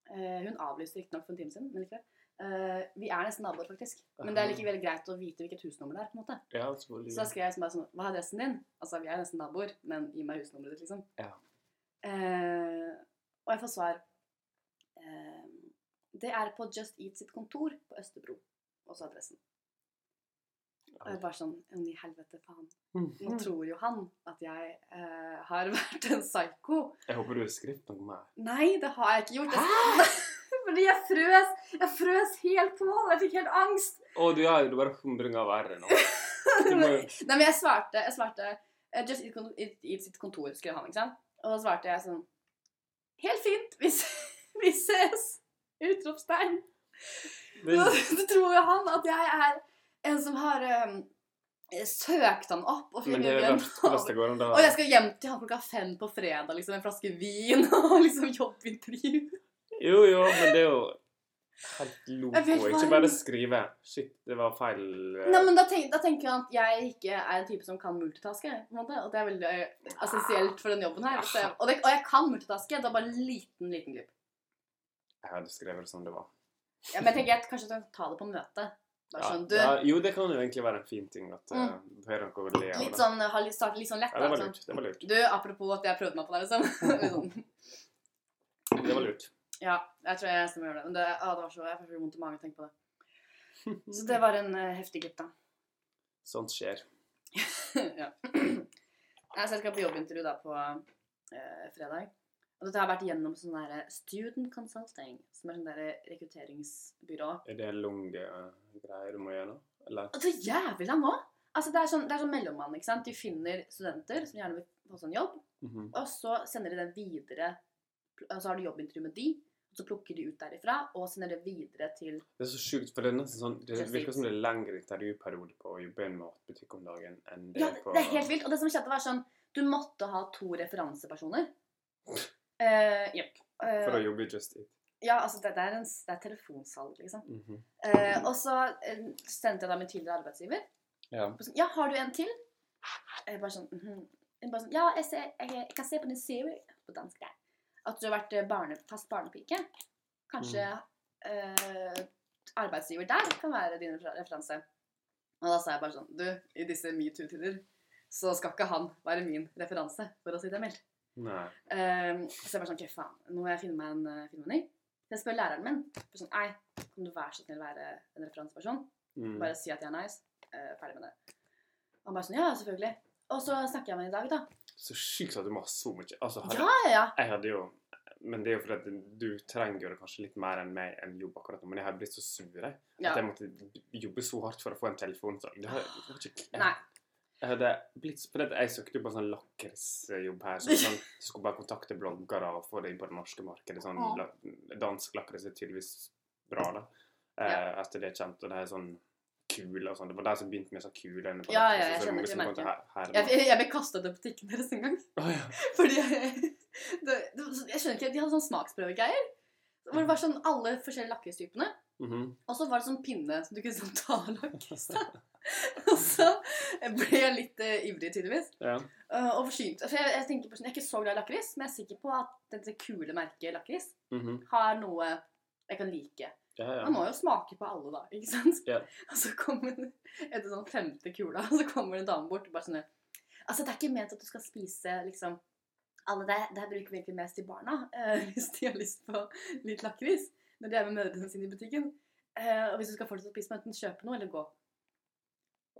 [SPEAKER 2] eh, Hun avlyste riktignok for en time siden, men likevel. Eh, vi er nesten naboer, faktisk. Men det er likevel greit å vite hvilket husnummer det er. på en måte.
[SPEAKER 1] Ja, selvfølgelig.
[SPEAKER 2] Så da skrev jeg som bare sånn Hva er adressen din? Altså, vi er nesten naboer, men gi meg husnummeret ditt, liksom.
[SPEAKER 1] Ja.
[SPEAKER 2] Eh, og jeg får svar. Eh, det er på Just Eat sitt kontor på Østerbro. Også adressen. Og jeg bare sånn «Å, i helvete, faen.
[SPEAKER 1] Mm.
[SPEAKER 2] Nå tror jo han at jeg eh, har vært en psyko.
[SPEAKER 1] Jeg håper du har skrevet noe mer.
[SPEAKER 2] Nei, det har jeg ikke gjort. Jeg- Fordi jeg frøs. Jeg frøs helt på. Jeg fikk helt angst.
[SPEAKER 1] Å, du er jo bare 100 ganger verre nå. Du må jo
[SPEAKER 2] Nei, men jeg svarte, jeg svarte eh, Just Eat, kon- Eat, Eat sitt kontor, skrev han, ikke sant? Og da svarte jeg sånn Helt fint, vi, se- vi ses! Utropstegn.
[SPEAKER 1] det,
[SPEAKER 2] Så tror jo han at jeg er en som har eh, søkt han opp og
[SPEAKER 1] Men det er
[SPEAKER 2] en
[SPEAKER 1] verst hvordan det går om
[SPEAKER 2] Og jeg
[SPEAKER 1] da.
[SPEAKER 2] skal hjem til han klokka fem på fredag, liksom, en flaske vin og liksom jobbintervju.
[SPEAKER 1] Jo, jo, men det er jo helt
[SPEAKER 2] Jeg
[SPEAKER 1] loco.
[SPEAKER 2] vet hva
[SPEAKER 1] Ikke
[SPEAKER 2] han-
[SPEAKER 1] bare skrive 'shit, det var feil' eh,
[SPEAKER 2] Nei, men da, tenk, da tenker han at jeg ikke er en type som kan multitaske. På en måte, og det er veldig eh, essensielt for den jobben her. Så, jeg- og, det, og jeg kan multitaske. Det er bare en liten, liten glipp.
[SPEAKER 1] Jeg hadde skrevet det som det var.
[SPEAKER 2] Ja, men jeg tenker at kanskje du kan ta det på møtet. Bare
[SPEAKER 1] Ja,
[SPEAKER 2] sånn, du, Mm.
[SPEAKER 1] ja, jo, det kan jo egentlig være en fin ting at eh, du har noe å le av.
[SPEAKER 2] litt
[SPEAKER 1] da.
[SPEAKER 2] sånn, eh, ha litt, starte litt sånn lett.
[SPEAKER 1] Ja, det
[SPEAKER 2] da,
[SPEAKER 1] var
[SPEAKER 2] sånn.
[SPEAKER 1] lurt. Det var lurt.
[SPEAKER 2] Du, apropos at jeg prøvde meg på deg, liksom. Litt sånn.
[SPEAKER 1] Det var lurt.
[SPEAKER 2] Ja, jeg tror jeg stemmer gjør det. Men det, ah, det var så, jeg får så vondt i magen av å tenke på det. Så det var en eh, heftig glipp, da.
[SPEAKER 1] Sånt skjer.
[SPEAKER 2] ja. Nei, så jeg skal på jobbintervju da på eh, fredag. Og dette har vært gjennom sånn der student consulting, som er sånn der rekrutteringsbyrå.
[SPEAKER 1] Er det lange eh, greier du må gjøre nå? Eller?
[SPEAKER 2] Og det er jævlig lang òg! Altså, det er sånn, det er sånn mellommann. ikke sant? De finner studenter som gjerne vil få sånn jobb,
[SPEAKER 1] Mhm.
[SPEAKER 2] og så sender de den videre. Og så har du jobbintervju med de, og så plukker de ut derifra og sender det videre til
[SPEAKER 1] Det er så sjukt, for det er nesten sånn Det
[SPEAKER 2] Just
[SPEAKER 1] virker
[SPEAKER 2] eat.
[SPEAKER 1] som det er lengre intervjuperiode på å jobbe i en matbutikk om dagen enn det
[SPEAKER 2] Ja,
[SPEAKER 1] er på
[SPEAKER 2] det er helt vilt. Og det som skjedde, var sånn Du måtte ha to referansepersoner. Uh, yep. Eh,
[SPEAKER 1] For å jobbe i Just Eat.
[SPEAKER 2] Ja, altså det, det, er en, s- det er telefonsalg, liksom.
[SPEAKER 1] Mhm.
[SPEAKER 2] Eh, og så eh, sendte jeg da min tidligere arbeidsgiver.
[SPEAKER 1] Ja.
[SPEAKER 2] Og så, Ja, har du en til? Jeg er bare sånn, mhm. Jeg er bare sånn Ja, jeg, ser, jeg, jeg kan se på den serien på dansk der. At du har vært eh, barne, fast barnepike. Kanskje eh, arbeidsgiver der kan være din refer- referanse. Og da sa jeg bare sånn Du, i disse metoo-tider så skal ikke han være min referanse, for å si det mildt.
[SPEAKER 1] Nei.
[SPEAKER 2] Ehm, så jeg bare sånn, ok, faen, nå må jeg finne meg en eh, finne meg en ny. Så jeg spør læreren min. bare Sånn, Ei, kan du være så snill å være en referanseperson?
[SPEAKER 1] Mm.
[SPEAKER 2] Bare si at jeg er nice. eh, ferdig med det. Han bare sånn, ja, selvfølgelig. Og så snakker jeg med henne i dag, da.
[SPEAKER 1] Så sykt at du må ha så mye Altså, hadde,
[SPEAKER 2] Ja, ja, ja.
[SPEAKER 1] jeg hadde jo Men det er jo fordi at du trenger jo det kanskje litt mer enn meg enn jobb akkurat nå. Men jeg har blitt så sur, jeg.
[SPEAKER 2] ja.
[SPEAKER 1] At jeg måtte jobbe så hardt for å få en telefon. Så det har, det har ikke, jeg,
[SPEAKER 2] Nei.
[SPEAKER 1] jeg hadde blitt så- fordi at jeg søkte jo på en sånn lakrisjobb her. Som sånn, så skulle bare kontakte bloggere og få det inn på det norske markedet. Sånn,
[SPEAKER 2] Ja.
[SPEAKER 1] la- dansk lakris er tydeligvis bra, da. Eh, At det er kjent. Og det er sånn kule og sånn. Det var de som begynte med sånn kule. under på
[SPEAKER 2] Ja,
[SPEAKER 1] lakris,
[SPEAKER 2] ja,
[SPEAKER 1] og
[SPEAKER 2] jeg
[SPEAKER 1] så er det
[SPEAKER 2] kjenner
[SPEAKER 1] mange
[SPEAKER 2] til
[SPEAKER 1] som kommer til
[SPEAKER 2] merket.
[SPEAKER 1] her- her-
[SPEAKER 2] Jeg, jeg ble kastet ut av butikken deres en gang.
[SPEAKER 1] Å, ja.
[SPEAKER 2] Fordi jeg, det, det, jeg skjønner ikke, de hadde sånn smaksprøvegreier. Hvor det var sånn alle forskjellige lakristypene.
[SPEAKER 1] Mhm.
[SPEAKER 2] Og så var det sånn pinne som du kunne sånn ta av lakris. da. Og så ble jeg litt eh, ivrig, tydeligvis.
[SPEAKER 1] ja.
[SPEAKER 2] Eh, og forsynt. Altså, jeg, jeg, tenker på, sånn- jeg er ikke så glad i lakris, men jeg er sikker på at dette kule merket lakris
[SPEAKER 1] Mhm.
[SPEAKER 2] har noe jeg kan like.
[SPEAKER 1] ja, ja.
[SPEAKER 2] Man må jo smake på alle, da. ikke sant?
[SPEAKER 1] Ja.
[SPEAKER 2] Og så kommer det- etter sånn femte kula, så kommer det en dame bort og bare sånn Altså, det er ikke ment at du skal spise liksom alle det, det her bruker vi egentlig mest til barna, eh, hvis de har lyst på litt lakris når de er med mødrene sine i butikken. Eh, og hvis du skal fortsette å spise, må du enten kjøpe noe eller gå.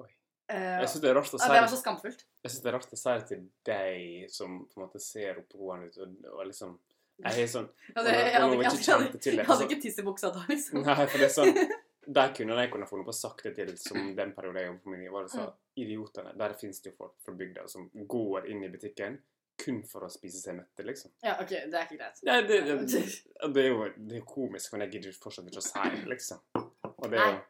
[SPEAKER 1] Oi.
[SPEAKER 2] Eh,
[SPEAKER 1] Jeg syns det er rart å
[SPEAKER 2] ja,
[SPEAKER 1] si
[SPEAKER 2] det var så skamfullt.
[SPEAKER 1] Jeg synes det er rart å si det til deg som på en måte ser oppegående ut og, og liksom Jeg har sånn
[SPEAKER 2] Ja,
[SPEAKER 1] Og
[SPEAKER 2] det-
[SPEAKER 1] nå-
[SPEAKER 2] jeg
[SPEAKER 1] og nå
[SPEAKER 2] hadde
[SPEAKER 1] var
[SPEAKER 2] ikke-
[SPEAKER 1] ikke
[SPEAKER 2] jeg hadde-
[SPEAKER 1] kjente til det,
[SPEAKER 2] jeg hadde
[SPEAKER 1] så-
[SPEAKER 2] ikke tiss i buksa da, liksom.
[SPEAKER 1] Nei, for det er sånn Der kunne de kunne funnet på å sagt det til som den perioden jeg jobbet på Meny. Var det så
[SPEAKER 2] Mm.
[SPEAKER 1] idiotene Der finnes det jo folk fra bygda som går inn i butikken kun for å spise seg mette, liksom.
[SPEAKER 2] Ja, ok, det er ikke greit.
[SPEAKER 1] Nei, det, det, det er jo det er komisk, men jeg gidder fortsatt ikke å si det, liksom. Og det er jo
[SPEAKER 2] Nei.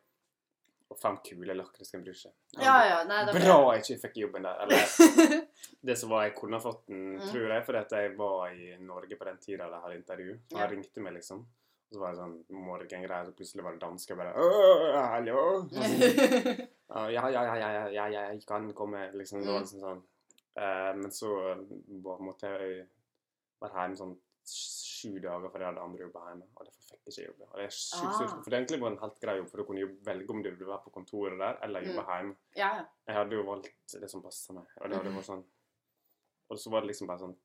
[SPEAKER 1] Og faen kule lakris kan bry seg.
[SPEAKER 2] Ja, ja, nei, det
[SPEAKER 1] Bra jeg ikke fikk jobben der. Eller det som var jeg kunne ha fått den,
[SPEAKER 2] Mm.
[SPEAKER 1] tror jeg, fordi at jeg var i Norge på den tida de hadde intervju. Så
[SPEAKER 2] Ja.
[SPEAKER 1] han ringte meg, liksom. Og så var det sånn morgengreier, så plutselig var det danske bare «Åh, hallo! Ja, ja, ja, ja, ja, ja, ja, jeg kan komme, liksom. Det var
[SPEAKER 2] Mm.
[SPEAKER 1] liksom sånn. Eh, men så var- måtte jeg være hjemme sånn sju dager fordi jeg hadde andre jobber hjemme. Og derfor fikk jeg ikke jobbe. Og det er sykt
[SPEAKER 2] Ah.
[SPEAKER 1] surt. For det egentlig var en helt grei jobb, for du kunne jo velge om du ville være på kontoret der, eller jobbe
[SPEAKER 2] Mm.
[SPEAKER 1] hjemme.
[SPEAKER 2] ja, ja.
[SPEAKER 1] Jeg hadde jo valgt det som passa meg. Og det hadde vært sånn Og så var det liksom bare sånn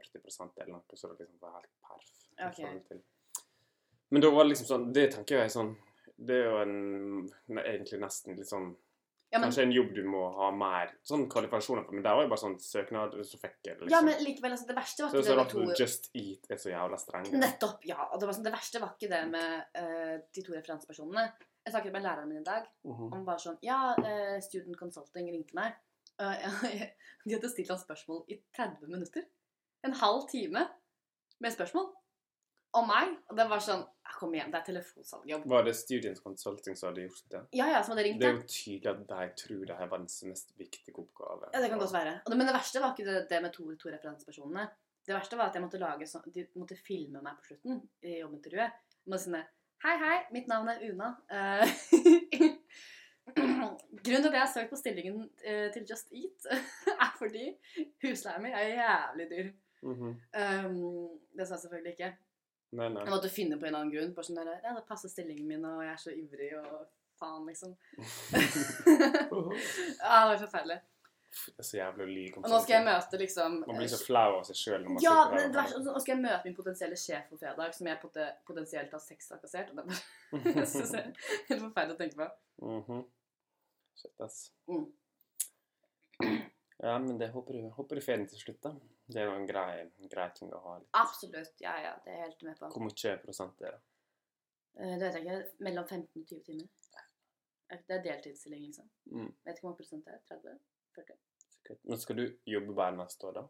[SPEAKER 1] 40 eller noe, så det liksom var helt perf. i
[SPEAKER 2] Ok.
[SPEAKER 1] forhold til- Men da var det liksom sånn Det tenker jeg er sånn Det er jo en ne- egentlig nesten litt sånn
[SPEAKER 2] Ja, men,
[SPEAKER 1] Kanskje en jobb du må ha mer sånn kvalifikasjoner på, men der var jo bare sånn søknad, og så fikk jeg det, liksom.
[SPEAKER 2] ja, men likevel, altså, det verste var
[SPEAKER 1] så det er
[SPEAKER 2] ikke
[SPEAKER 1] så
[SPEAKER 2] det med
[SPEAKER 1] rart at
[SPEAKER 2] to...
[SPEAKER 1] Just Eat er så jævla streng.
[SPEAKER 2] Nettopp, ja. Og det, var sånn, det verste var ikke det med eh, de to referansepersonene. Jeg snakket med læreren min i dag.
[SPEAKER 1] Mhm.
[SPEAKER 2] Han var sånn, ja, eh, student consulting ringte meg. Og jeg- de hadde stilt han spørsmål i 30 minutter. En halv time med spørsmål. Om meg. Og det var sånn, «Ah, kom igjen, det er telefonsalgjobb.
[SPEAKER 1] Var det Students Consulting som hadde gjort det?
[SPEAKER 2] Ja, ja, som hadde ringt
[SPEAKER 1] Det er
[SPEAKER 2] deg.
[SPEAKER 1] jo tydelig at de tror det her var den mest viktige oppgave.
[SPEAKER 2] Ja, det kan godt være. Og det, men det verste var ikke det, det med to, to referansepersonene. Det verste var at jeg måtte lage sånn De måtte filme meg på slutten i jobbintervjuet. Med sånne sånn Hei, hei, mitt navn er Una. Eh, Grunnen til at jeg har søkt på stillingen eh, til Just Eat, er fordi husleien min er jævlig dyr.
[SPEAKER 1] Mhm.
[SPEAKER 2] Um, det sa jeg selvfølgelig ikke.
[SPEAKER 1] Nei, nei.
[SPEAKER 2] Jeg måtte finne på en annen grunn. Bare sånn der, ja, det passer stillingen min, og jeg er så ivrig, og faen, liksom. ja, det var forferdelig.
[SPEAKER 1] Det er så jævlig å lyge om
[SPEAKER 2] Og nå skal jeg
[SPEAKER 1] ting.
[SPEAKER 2] møte liksom
[SPEAKER 1] Man blir så flau av seg sjøl.
[SPEAKER 2] Ja, men det verste, nå skal jeg møte min potensielle sjef på fredag, som jeg pote- potensielt har sextrakassert. Og det er bare
[SPEAKER 1] Mhm.
[SPEAKER 2] jeg synes det er helt forferdelig å tenke på.
[SPEAKER 1] Shit, ass.
[SPEAKER 2] Mm.
[SPEAKER 1] Ja, men det håper du, håper du får den til slutt, da. Det er jo en grei, en grei ting å ha. litt.
[SPEAKER 2] Absolutt. Ja, ja. Det er jeg helt med på.
[SPEAKER 1] Hvor mye prosent er det?
[SPEAKER 2] Eh, Det vet jeg ikke. Mellom 15 og 20 timer. Er ikke- Det er deltidsstilling, liksom.
[SPEAKER 1] Mm.
[SPEAKER 2] Vet ikke hvor mange prosent det er. 30?
[SPEAKER 1] sikkert. Men skal du jobbe bare neste år, da?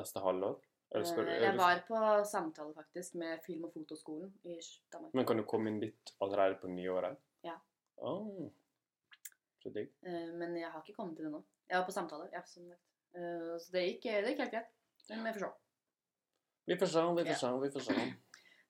[SPEAKER 1] Neste halvår? Eller skal du,
[SPEAKER 2] Eh, Jeg var på samtale, faktisk, med film- og fotoskolen i Danmark.
[SPEAKER 1] Men kan du komme inn dit allerede på nyåret?
[SPEAKER 2] Ja.
[SPEAKER 1] Åh. Så digg.
[SPEAKER 2] Eh, Men jeg har ikke kommet til det nå. Jeg var på samtale, ja, som sagt. Eh, Så det gikk, det gikk helt greit. Men jeg får se.
[SPEAKER 1] Vi får se, vi
[SPEAKER 2] Ja.
[SPEAKER 1] får se, vi får se.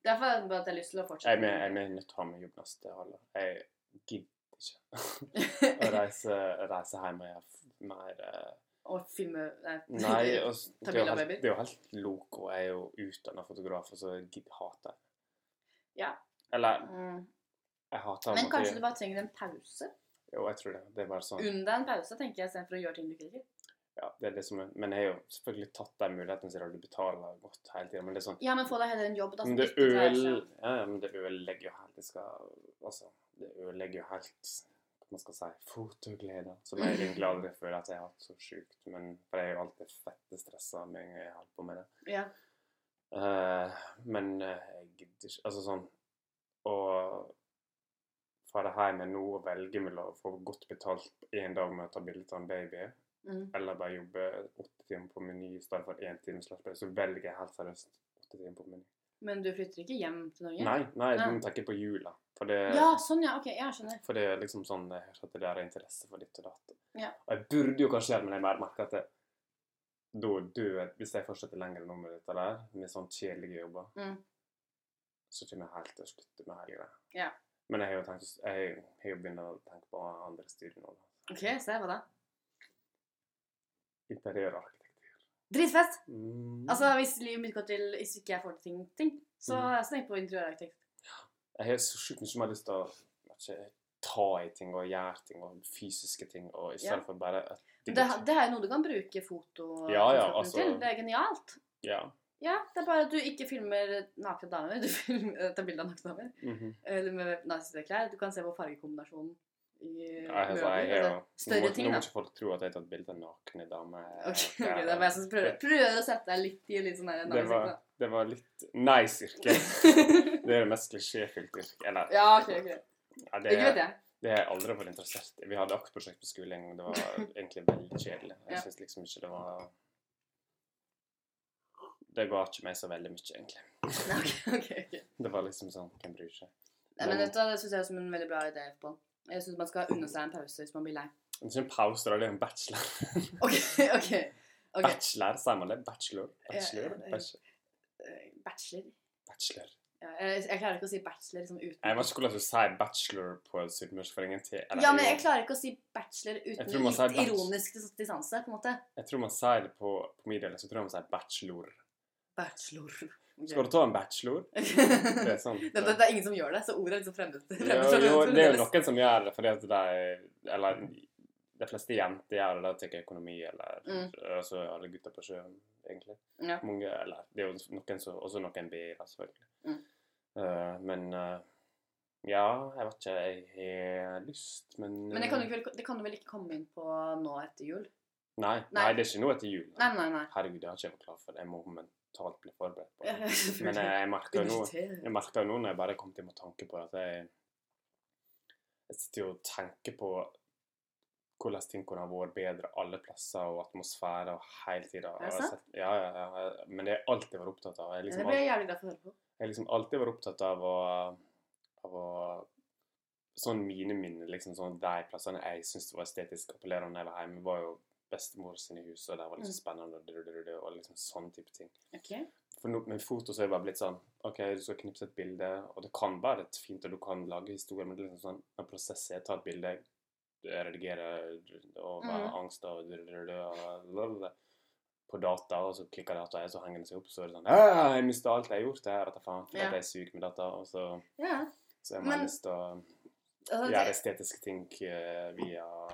[SPEAKER 2] Derfor er det bare at jeg har lyst til å
[SPEAKER 1] Jeg
[SPEAKER 2] fortsette.
[SPEAKER 1] er med- jeg er med nødt til å ha med jobb neste halvår. Jeg gidder ikke. å reise, reise hjem og gjøre f- mer eh,
[SPEAKER 2] Og filme Nei.
[SPEAKER 1] Nei, og s- det er
[SPEAKER 2] Ta
[SPEAKER 1] jo
[SPEAKER 2] bilde av
[SPEAKER 1] helt-
[SPEAKER 2] babyer.
[SPEAKER 1] det er jo helt loco. Jeg er jo utdanna fotograf, og så gidd- hater jeg
[SPEAKER 2] Ja.
[SPEAKER 1] Eller
[SPEAKER 2] Mm.
[SPEAKER 1] jeg hater
[SPEAKER 2] Men kanskje du bare trenger en pause?
[SPEAKER 1] Jo, jeg tror det. Det er bare sånn.
[SPEAKER 2] Unn deg en pause, tenker jeg, istedenfor å gjøre ting du ikke liker.
[SPEAKER 1] Ja, det er det som er. Men jeg har jo selvfølgelig tatt den muligheten siden du betaler godt hele tiden, Men det er sånn
[SPEAKER 2] Ja, men få deg heller en jobb, da. som
[SPEAKER 1] Men det
[SPEAKER 2] ikke dreier
[SPEAKER 1] øl
[SPEAKER 2] seg om-
[SPEAKER 1] Ja, ja, men det ødelegger jo helt Det skal Altså, det ødelegger jo helt hva man skal si fotogleden. Som jeg egentlig aldri føler at jeg har hatt så sjukt. Men for jeg er jo alltid fette stressa med en gang jeg holder på med det.
[SPEAKER 2] Ja.
[SPEAKER 1] Eh, men eh, jeg gidder ikke Altså sånn Å fare hjem med nå og velge mellom å få godt betalt en dag med å ta bilde av en baby
[SPEAKER 2] Mm.
[SPEAKER 1] eller bare jobbe åtte timer på Meny i stedet for én time slash pause, så velger jeg helt seriøst åtte timer på Meny.
[SPEAKER 2] Men du flytter ikke hjem til Norge?
[SPEAKER 1] Nei, nei, du
[SPEAKER 2] Nei.
[SPEAKER 1] må tenke på jula. For det,
[SPEAKER 2] Ja, sånn, ja. Ok, jeg skjønner.
[SPEAKER 1] for det er liksom sånn jeg hørte at det der er interesse for ditt og datt.
[SPEAKER 2] Ja.
[SPEAKER 1] Og jeg burde jo kanskje gjøre det, men jeg bare merker at det, da dør jeg Hvis jeg fortsetter lenger nå med dette der, med sånn kjedelige jobber,
[SPEAKER 2] Mm.
[SPEAKER 1] så kommer jeg helt til å slutte med hele greia.
[SPEAKER 2] Ja.
[SPEAKER 1] Men jeg har jo tenkt, å- jeg har jo begynt å tenke på andre studier nå. da.
[SPEAKER 2] Ok, se hva da.
[SPEAKER 1] Interiørarkitektur.
[SPEAKER 2] Dritfest!
[SPEAKER 1] Mm.
[SPEAKER 2] Altså, hvis livet mitt går til Hvis ikke jeg får til ting, ting så har jeg tenkt på interiørarkitekt.
[SPEAKER 1] Jeg har så sjukt mye mer lyst til å ikke, ta i ting og gjøre ting og fysiske ting, og i stedet
[SPEAKER 2] Ja.
[SPEAKER 1] for bare at
[SPEAKER 2] Det, det er jo noe du kan bruke foto
[SPEAKER 1] Ja, ja,
[SPEAKER 2] fotografen
[SPEAKER 1] altså-
[SPEAKER 2] til. Det er genialt.
[SPEAKER 1] Ja.
[SPEAKER 2] Ja, det er bare at du ikke filmer nakne damer. Du filmer, eh, tar bilde av nakne damer.
[SPEAKER 1] Mhm.
[SPEAKER 2] Eller med nazistiske klær. Du kan se på fargekombinasjonen i
[SPEAKER 1] Nei, altså, jeg
[SPEAKER 2] møbler.
[SPEAKER 1] er
[SPEAKER 2] Altså,
[SPEAKER 1] jo- nå,
[SPEAKER 2] større
[SPEAKER 1] må-
[SPEAKER 2] ting,
[SPEAKER 1] Nå må
[SPEAKER 2] da.
[SPEAKER 1] ikke folk tro at jeg har tatt bilde av nakne damer.
[SPEAKER 2] Ok, ok, det er bare jeg som prøver, prøver å sette deg litt i litt sånn der
[SPEAKER 1] Det var, det var litt nice yrke.
[SPEAKER 2] nazistiske.
[SPEAKER 1] Det er det mest klisjéfylte yrket. Eller
[SPEAKER 2] Ja, ok, ok.
[SPEAKER 1] ja, det,
[SPEAKER 2] Ikke vet jeg.
[SPEAKER 1] det har jeg aldri vært interessert i. Vi hadde aktprosjekt på skolen, og det var egentlig veldig kjedelig.
[SPEAKER 2] Ja.
[SPEAKER 1] Jeg synes liksom ikke det var Det ga ikke meg så veldig mye, egentlig.
[SPEAKER 2] Nei, ok, ok, ok.
[SPEAKER 1] Det var liksom sånn Hvem bryr seg?
[SPEAKER 2] Nei, men
[SPEAKER 1] Men-
[SPEAKER 2] dette det synes jeg er som en veldig bra idé på. Jeg synes man skal unne seg en pause hvis man blir lei.
[SPEAKER 1] Det er ikke en pause, da. Det er en bachelor.
[SPEAKER 2] Ok, ok. ok.
[SPEAKER 1] Bachelor, sier man det? Bachelor? Bachelor?
[SPEAKER 2] Ja, ja, ja.
[SPEAKER 1] Bachelor?
[SPEAKER 2] Eh, Bachelor.
[SPEAKER 1] bachelor.
[SPEAKER 2] Ja, jeg, jeg klarer ikke å si bachelor liksom uten...
[SPEAKER 1] Jeg vet ikke hvordan du sier bachelor på sydmørsk for ingen tid.
[SPEAKER 2] Ja, men jeg klarer ikke å si bachelor
[SPEAKER 1] Jeg
[SPEAKER 2] uten
[SPEAKER 1] tror man
[SPEAKER 2] litt
[SPEAKER 1] sier bach-
[SPEAKER 2] ironisk dis- distanse, på en måte.
[SPEAKER 1] jeg tror man sier det på, på min del, så tror jeg man sier bachelor.
[SPEAKER 2] Bachelor. Ok.
[SPEAKER 1] Skal du ta en bachelor? Det
[SPEAKER 2] det,
[SPEAKER 1] er sånn.
[SPEAKER 2] det, det er ingen som gjør det, så ordet er liksom fremmed.
[SPEAKER 1] Jo,
[SPEAKER 2] fremmed-
[SPEAKER 1] jo,
[SPEAKER 2] fremmed-
[SPEAKER 1] det er jo noen som gjør det fordi at de Eller de fleste jenter gjør det, da tar jeg økonomi eller
[SPEAKER 2] Mm.
[SPEAKER 1] Altså alle gutter på sjøen, egentlig.
[SPEAKER 2] Ja.
[SPEAKER 1] Mange, eller Det er jo noen som Også noen BI-er, selvfølgelig.
[SPEAKER 2] Mm.
[SPEAKER 1] Eh, men eh, Ja, jeg vet ikke. Jeg har lyst, men
[SPEAKER 2] Men det
[SPEAKER 1] eh,
[SPEAKER 2] kan, du ikke vel, det kan du vel ikke komme inn på nå etter jul?
[SPEAKER 1] Nei, nei,
[SPEAKER 2] Nei.
[SPEAKER 1] det er ikke noe etter jul.
[SPEAKER 2] Nei, nei, nei.
[SPEAKER 1] Herregud, det har ikke jeg vært klar for. Jeg må mentalt bli forberedt på
[SPEAKER 2] Ja,
[SPEAKER 1] det.
[SPEAKER 2] ja,
[SPEAKER 1] Men
[SPEAKER 2] selvfølgelig.
[SPEAKER 1] jeg, jeg merker jo nå
[SPEAKER 2] Universitetet.
[SPEAKER 1] Jeg merker jo nå når jeg bare kom til med tanke på at jeg Jeg sitter jo og tenker på hvordan ting kunne ha vært bedre alle plasser, og atmosfære og hele tida.
[SPEAKER 2] Er det sant?
[SPEAKER 1] Ja, ja, ja. jeg- Men det har jeg alltid vært opptatt av. Jeg har
[SPEAKER 2] Ja,
[SPEAKER 1] liksom,
[SPEAKER 2] Det blir
[SPEAKER 1] alt,
[SPEAKER 2] jeg jævlig glad for å høre på.
[SPEAKER 1] jeg har liksom alltid vært opptatt av å, av å Sånn mine minner, liksom sånn de plassene jeg syntes var estetisk appellerende da jeg var hjemme, var jo bestemor sine hus, og de var
[SPEAKER 2] Mm.
[SPEAKER 1] liksom spennende, og, drudrudru, og liksom sånn type ting.
[SPEAKER 2] Ok.
[SPEAKER 1] For nå, med foto så er det bare blitt sånn OK, du skal knipse et bilde, og det kan være et fint, og du kan lage historier, men det er liksom sånn en prosess er å ta et bilde, redigere og være
[SPEAKER 2] Mhm.
[SPEAKER 1] angst og, og blablabla, på data, og så klikker dataet, så henger det seg opp, så er det sånn «Æ, Jeg mista alt jeg har gjort, jeg vet da faen, for
[SPEAKER 2] Ja.
[SPEAKER 1] at jeg er syk med data, og så,
[SPEAKER 2] Ja.
[SPEAKER 1] så jeg har
[SPEAKER 2] Men-
[SPEAKER 1] man lyst til å
[SPEAKER 2] Altså, det,
[SPEAKER 1] gjøre estetiske ting eh, via
[SPEAKER 2] ja,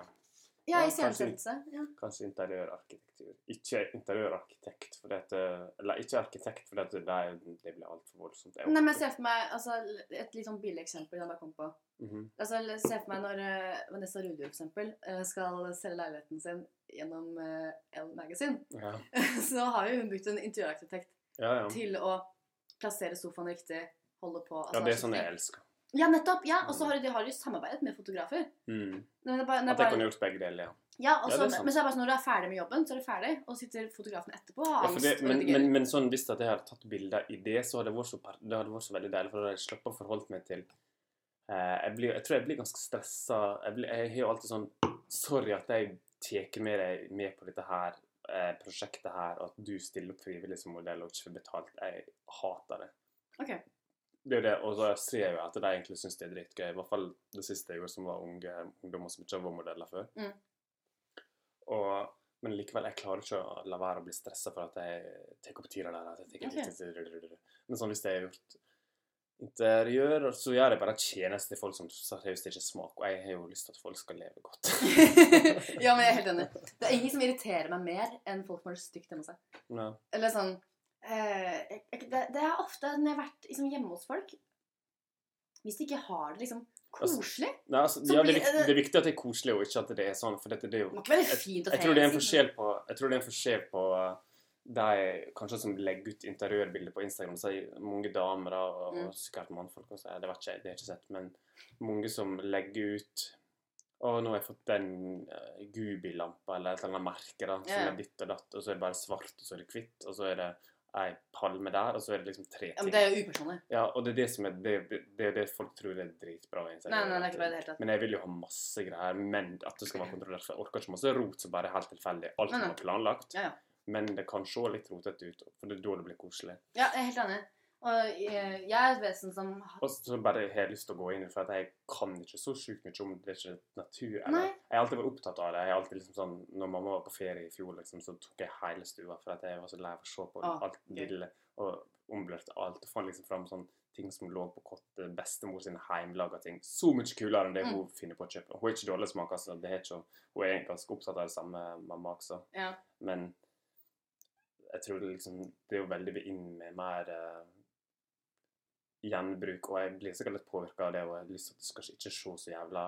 [SPEAKER 1] ja,
[SPEAKER 2] i scenesettelse. Ja.
[SPEAKER 1] kanskje interiørarkitektur. Ikke interiørarkitekt, fordi at det- eh, Eller ikke arkitekt, fordi at det, det- det blir altfor voldsomt. Jeg
[SPEAKER 2] Nei, men jeg ser for meg altså, et litt sånn billig eksempel som jeg kom på.
[SPEAKER 1] Mhm.
[SPEAKER 2] Altså, jeg ser for meg når eh, Vanessa Rudi for eksempel, eh, skal selge leiligheten sin gjennom eh, Elle Magazine,
[SPEAKER 1] ja.
[SPEAKER 2] så har jo hun brukt en interiørarkitekt
[SPEAKER 1] Ja, ja.
[SPEAKER 2] til å plassere sofaen riktig, holde på altså,
[SPEAKER 1] ja, det er sånn
[SPEAKER 2] sånne
[SPEAKER 1] jeg
[SPEAKER 2] ting.
[SPEAKER 1] elsker.
[SPEAKER 2] Ja, nettopp! ja, Og så har de har de jo samarbeidet med fotografer.
[SPEAKER 1] Mm.
[SPEAKER 2] Nei, men det er bare- det er
[SPEAKER 1] At jeg
[SPEAKER 2] bare-
[SPEAKER 1] kunne gjort begge deler, ja.
[SPEAKER 2] Ja, og
[SPEAKER 1] Ja,
[SPEAKER 2] så,
[SPEAKER 1] det er sant.
[SPEAKER 2] men så er det bare sånn, når du er ferdig med jobben, så er du ferdig, og sitter fotografen etterpå og har
[SPEAKER 1] ja for
[SPEAKER 2] angst.
[SPEAKER 1] det,
[SPEAKER 2] og
[SPEAKER 1] men,
[SPEAKER 2] redigerer.
[SPEAKER 1] men, men sånn, hvis at jeg hadde tatt bilder i det, så hadde det vært så, per- det hadde vært så veldig deilig, for da hadde jeg sluppet å forholde meg til eh, jeg, blir, jeg tror jeg blir ganske stressa. Jeg, blir- jeg har jo alltid sånn Sorry at jeg tar med deg med på dette her eh, prosjektet her, og at du stiller opp frivillig som modell og ikke får betalt. Jeg hater det.
[SPEAKER 2] Ok.
[SPEAKER 1] Det er jo det, og så ser jeg jo at de egentlig syns det er dritgøy. I hvert fall det siste jeg gjorde, som var unge ungdommer som ikke var modeller før.
[SPEAKER 2] Mm.
[SPEAKER 1] Og, men likevel, jeg klarer ikke å la være å bli stressa for at jeg tar opp tida der. At jeg tek-
[SPEAKER 2] Ok.
[SPEAKER 1] Men sånn hvis jeg har gjort interiør, så gjør jeg bare tjeneste til folk som seriøst ikke smaker. Og jeg har jo lyst til at folk skal leve godt.
[SPEAKER 2] ja, men jeg er helt enig. Det er ingen som irriterer meg mer enn folk som har det stygt hjemme hos seg.
[SPEAKER 1] Ja.
[SPEAKER 2] Eller sånn eh, jeg- jeg- det, det er ofte når jeg har vært liksom, hjemme hos folk Hvis de ikke har det liksom koselig
[SPEAKER 1] Nei, altså,
[SPEAKER 2] Så
[SPEAKER 1] ja, det, er
[SPEAKER 2] blir-
[SPEAKER 1] viktig, det er viktig at det er koselig, og ikke at det er sånn. For dette det er
[SPEAKER 2] Det
[SPEAKER 1] jo
[SPEAKER 2] må ikke være fint å
[SPEAKER 1] Jeg tror det er en
[SPEAKER 2] fjes,
[SPEAKER 1] forskjell på Jeg tror det er en forskjell på eh, de kanskje som legger ut interiørbilder på Instagram. Så er det mange damer da, og,
[SPEAKER 2] Mm.
[SPEAKER 1] og sikkert mannfolk også. ja, Det vet ikke jeg, det har jeg ikke sett. Men mange som legger ut Å, nå har jeg fått den uh, Gubi-lampa, eller et eller annet merke, da, som
[SPEAKER 2] Ja, ja.
[SPEAKER 1] er ditt og datt, og så er det bare svart, og så er det hvitt, og så er det ei palme der, og så er det liksom tre
[SPEAKER 2] Ja,
[SPEAKER 1] ting.
[SPEAKER 2] men det er jo upersonlig.
[SPEAKER 1] Ja, og det er det som er Det det, det, er det folk tror er dritbra. i
[SPEAKER 2] Nei, nei, det er
[SPEAKER 1] interiør.
[SPEAKER 2] ikke bra i det hele tatt.
[SPEAKER 1] Men jeg vil jo ha masse greier, men at det skal være kontrollert. For jeg orker ikke masse rot som bare er helt tilfeldig. Alt
[SPEAKER 2] Nei,
[SPEAKER 1] må
[SPEAKER 2] nei.
[SPEAKER 1] være planlagt.
[SPEAKER 2] Ja, ja.
[SPEAKER 1] Men det kan se litt rotete ut, for det er da det blir koselig.
[SPEAKER 2] Ja, jeg er helt enig. Og eh, jeg er et vesen som
[SPEAKER 1] Og så sånn bare har jeg lyst til å gå inn i det, for at jeg kan ikke så sjukt mye om det er ikke natur. Eller,
[SPEAKER 2] Nei.
[SPEAKER 1] jeg har alltid vært opptatt av det. Jeg har alltid liksom sånn, Når mamma var på ferie i fjor, liksom, så tok jeg hele stua, for at jeg var så lei av å se på
[SPEAKER 2] Ah,
[SPEAKER 1] alt lille. Og omblørte alt. Og fant liksom fram sånn ting som lå på kottet. Bestemor sine heimelaga ting. Så mye kulere enn det hun finner på å kjøpe. Hun er ikke dårlig smak, altså. Det er ikke, hun er ganske opptatt av det samme, mamma også.
[SPEAKER 2] ja.
[SPEAKER 1] Men jeg tror det liksom Det er jo veldig vi inn med mer eh, gjenbruk, og jeg blir sikkert litt påvirka av det, og jeg har lyst til at det skal ikke se så jævla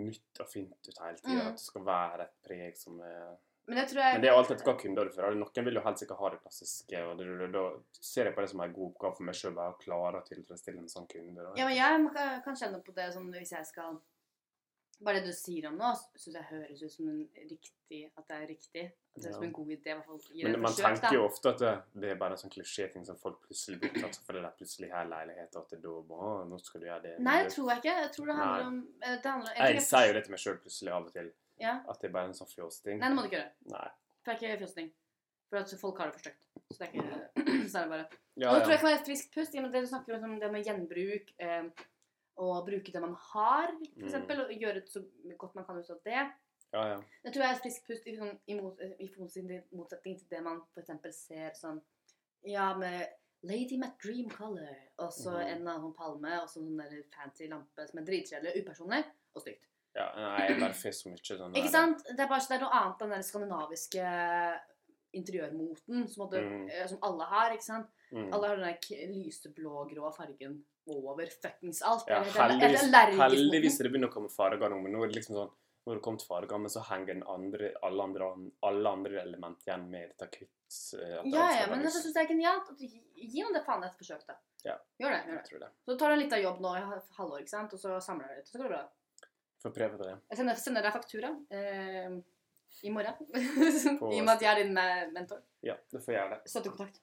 [SPEAKER 1] nytt og fint ut hele tida.
[SPEAKER 2] Mm.
[SPEAKER 1] At det skal være et preg som er
[SPEAKER 2] Men det tror jeg
[SPEAKER 1] Men det er jo alltid hva kunder du får. Noen vil jo helst ikke ha det klassiske, og det, da ser jeg på det som en god oppgave for meg sjøl å klare å tilfredsstille en sånn kunde. Da.
[SPEAKER 2] Ja, men jeg må- kan kjenne på det sånn hvis jeg skal Bare det du sier om nå, syns jeg høres ut som en riktig At det er riktig. At det er som
[SPEAKER 1] Ja.
[SPEAKER 2] en god idé. i hvert fall i det
[SPEAKER 1] Men man
[SPEAKER 2] forsøk, da.
[SPEAKER 1] tenker jo ofte at det, det er bare en sånn klisjéting som folk plutselig blir opptatt av fordi de plutselig har leilighet, og at det da bare, «Å, nå skal du gjøre det.
[SPEAKER 2] Nei,
[SPEAKER 1] Men
[SPEAKER 2] det tror jeg ikke. Jeg tror det handler
[SPEAKER 1] Nei.
[SPEAKER 2] om eh, det handler,
[SPEAKER 1] Jeg,
[SPEAKER 2] tror
[SPEAKER 1] sier jo det til meg sjøl plutselig av og til,
[SPEAKER 2] Ja.
[SPEAKER 1] at det er bare en sånn fjåsting.
[SPEAKER 2] Nei, det må du ikke gjøre.
[SPEAKER 1] Nei.
[SPEAKER 2] For det er ikke fjøsning. For at folk har det for stygt. Så det er ikke Så er det bare
[SPEAKER 1] Ja,
[SPEAKER 2] og det tror
[SPEAKER 1] ja.
[SPEAKER 2] jeg kan være et friskt pust. i og med det du snakker om som det med gjenbruk, eh, og bruke det man har,
[SPEAKER 1] Mm.
[SPEAKER 2] f.eks., eksempel og gjøre det så godt man kan ut av det.
[SPEAKER 1] ja, ja.
[SPEAKER 2] Det tror jeg er et friskt pust i, sånn, i, mot, i motsetning- motsetning til det man f.eks. ser sånn Ja, med Lady Met Dream Color, og så
[SPEAKER 1] Mhm.
[SPEAKER 2] en annen palme, og så sånn der fancy lampe som er dritkjedelig, upersonlig og stygt.
[SPEAKER 1] ja. Nei, jeg bare får så mye sånn
[SPEAKER 2] Ikke
[SPEAKER 1] der-
[SPEAKER 2] sant? Det er bare det er noe annet enn den der skandinaviske interiørmoten som, måtte,
[SPEAKER 1] Mm.
[SPEAKER 2] eh, som alle har. ikke sant?
[SPEAKER 1] Mm.
[SPEAKER 2] Alle har den der k- lyseblå-grå fargen over fuckings alt.
[SPEAKER 1] Ja,
[SPEAKER 2] Eller det er- er det
[SPEAKER 1] heldigvis,
[SPEAKER 2] allergisk mot den?
[SPEAKER 1] heldigvis er det begynner å komme farger nå, men nå er det liksom sånn Nå har det kommet farger, men så henger den andre, alle, andre, alle andre element igjen med dette kvitt eh, at det
[SPEAKER 2] Ja,
[SPEAKER 1] alt
[SPEAKER 2] ja,
[SPEAKER 1] skal være
[SPEAKER 2] men altså,
[SPEAKER 1] lyst.
[SPEAKER 2] jeg syns det er genialt. at du- Gi nå det faen et forsøk, da.
[SPEAKER 1] Ja.
[SPEAKER 2] Gjør det. gjør
[SPEAKER 1] Jeg
[SPEAKER 2] det.
[SPEAKER 1] tror det.
[SPEAKER 2] Så tar du litt av jobb nå i ha- halvår, ikke sant? og så samler du litt. Så går det bra.
[SPEAKER 1] Får prøve på det.
[SPEAKER 2] Jeg sender, sender deg faktura eh, i morgen. I og med at jeg er din eh, mentor.
[SPEAKER 1] Ja, det får jeg gjøre det.
[SPEAKER 2] Støttekontakt.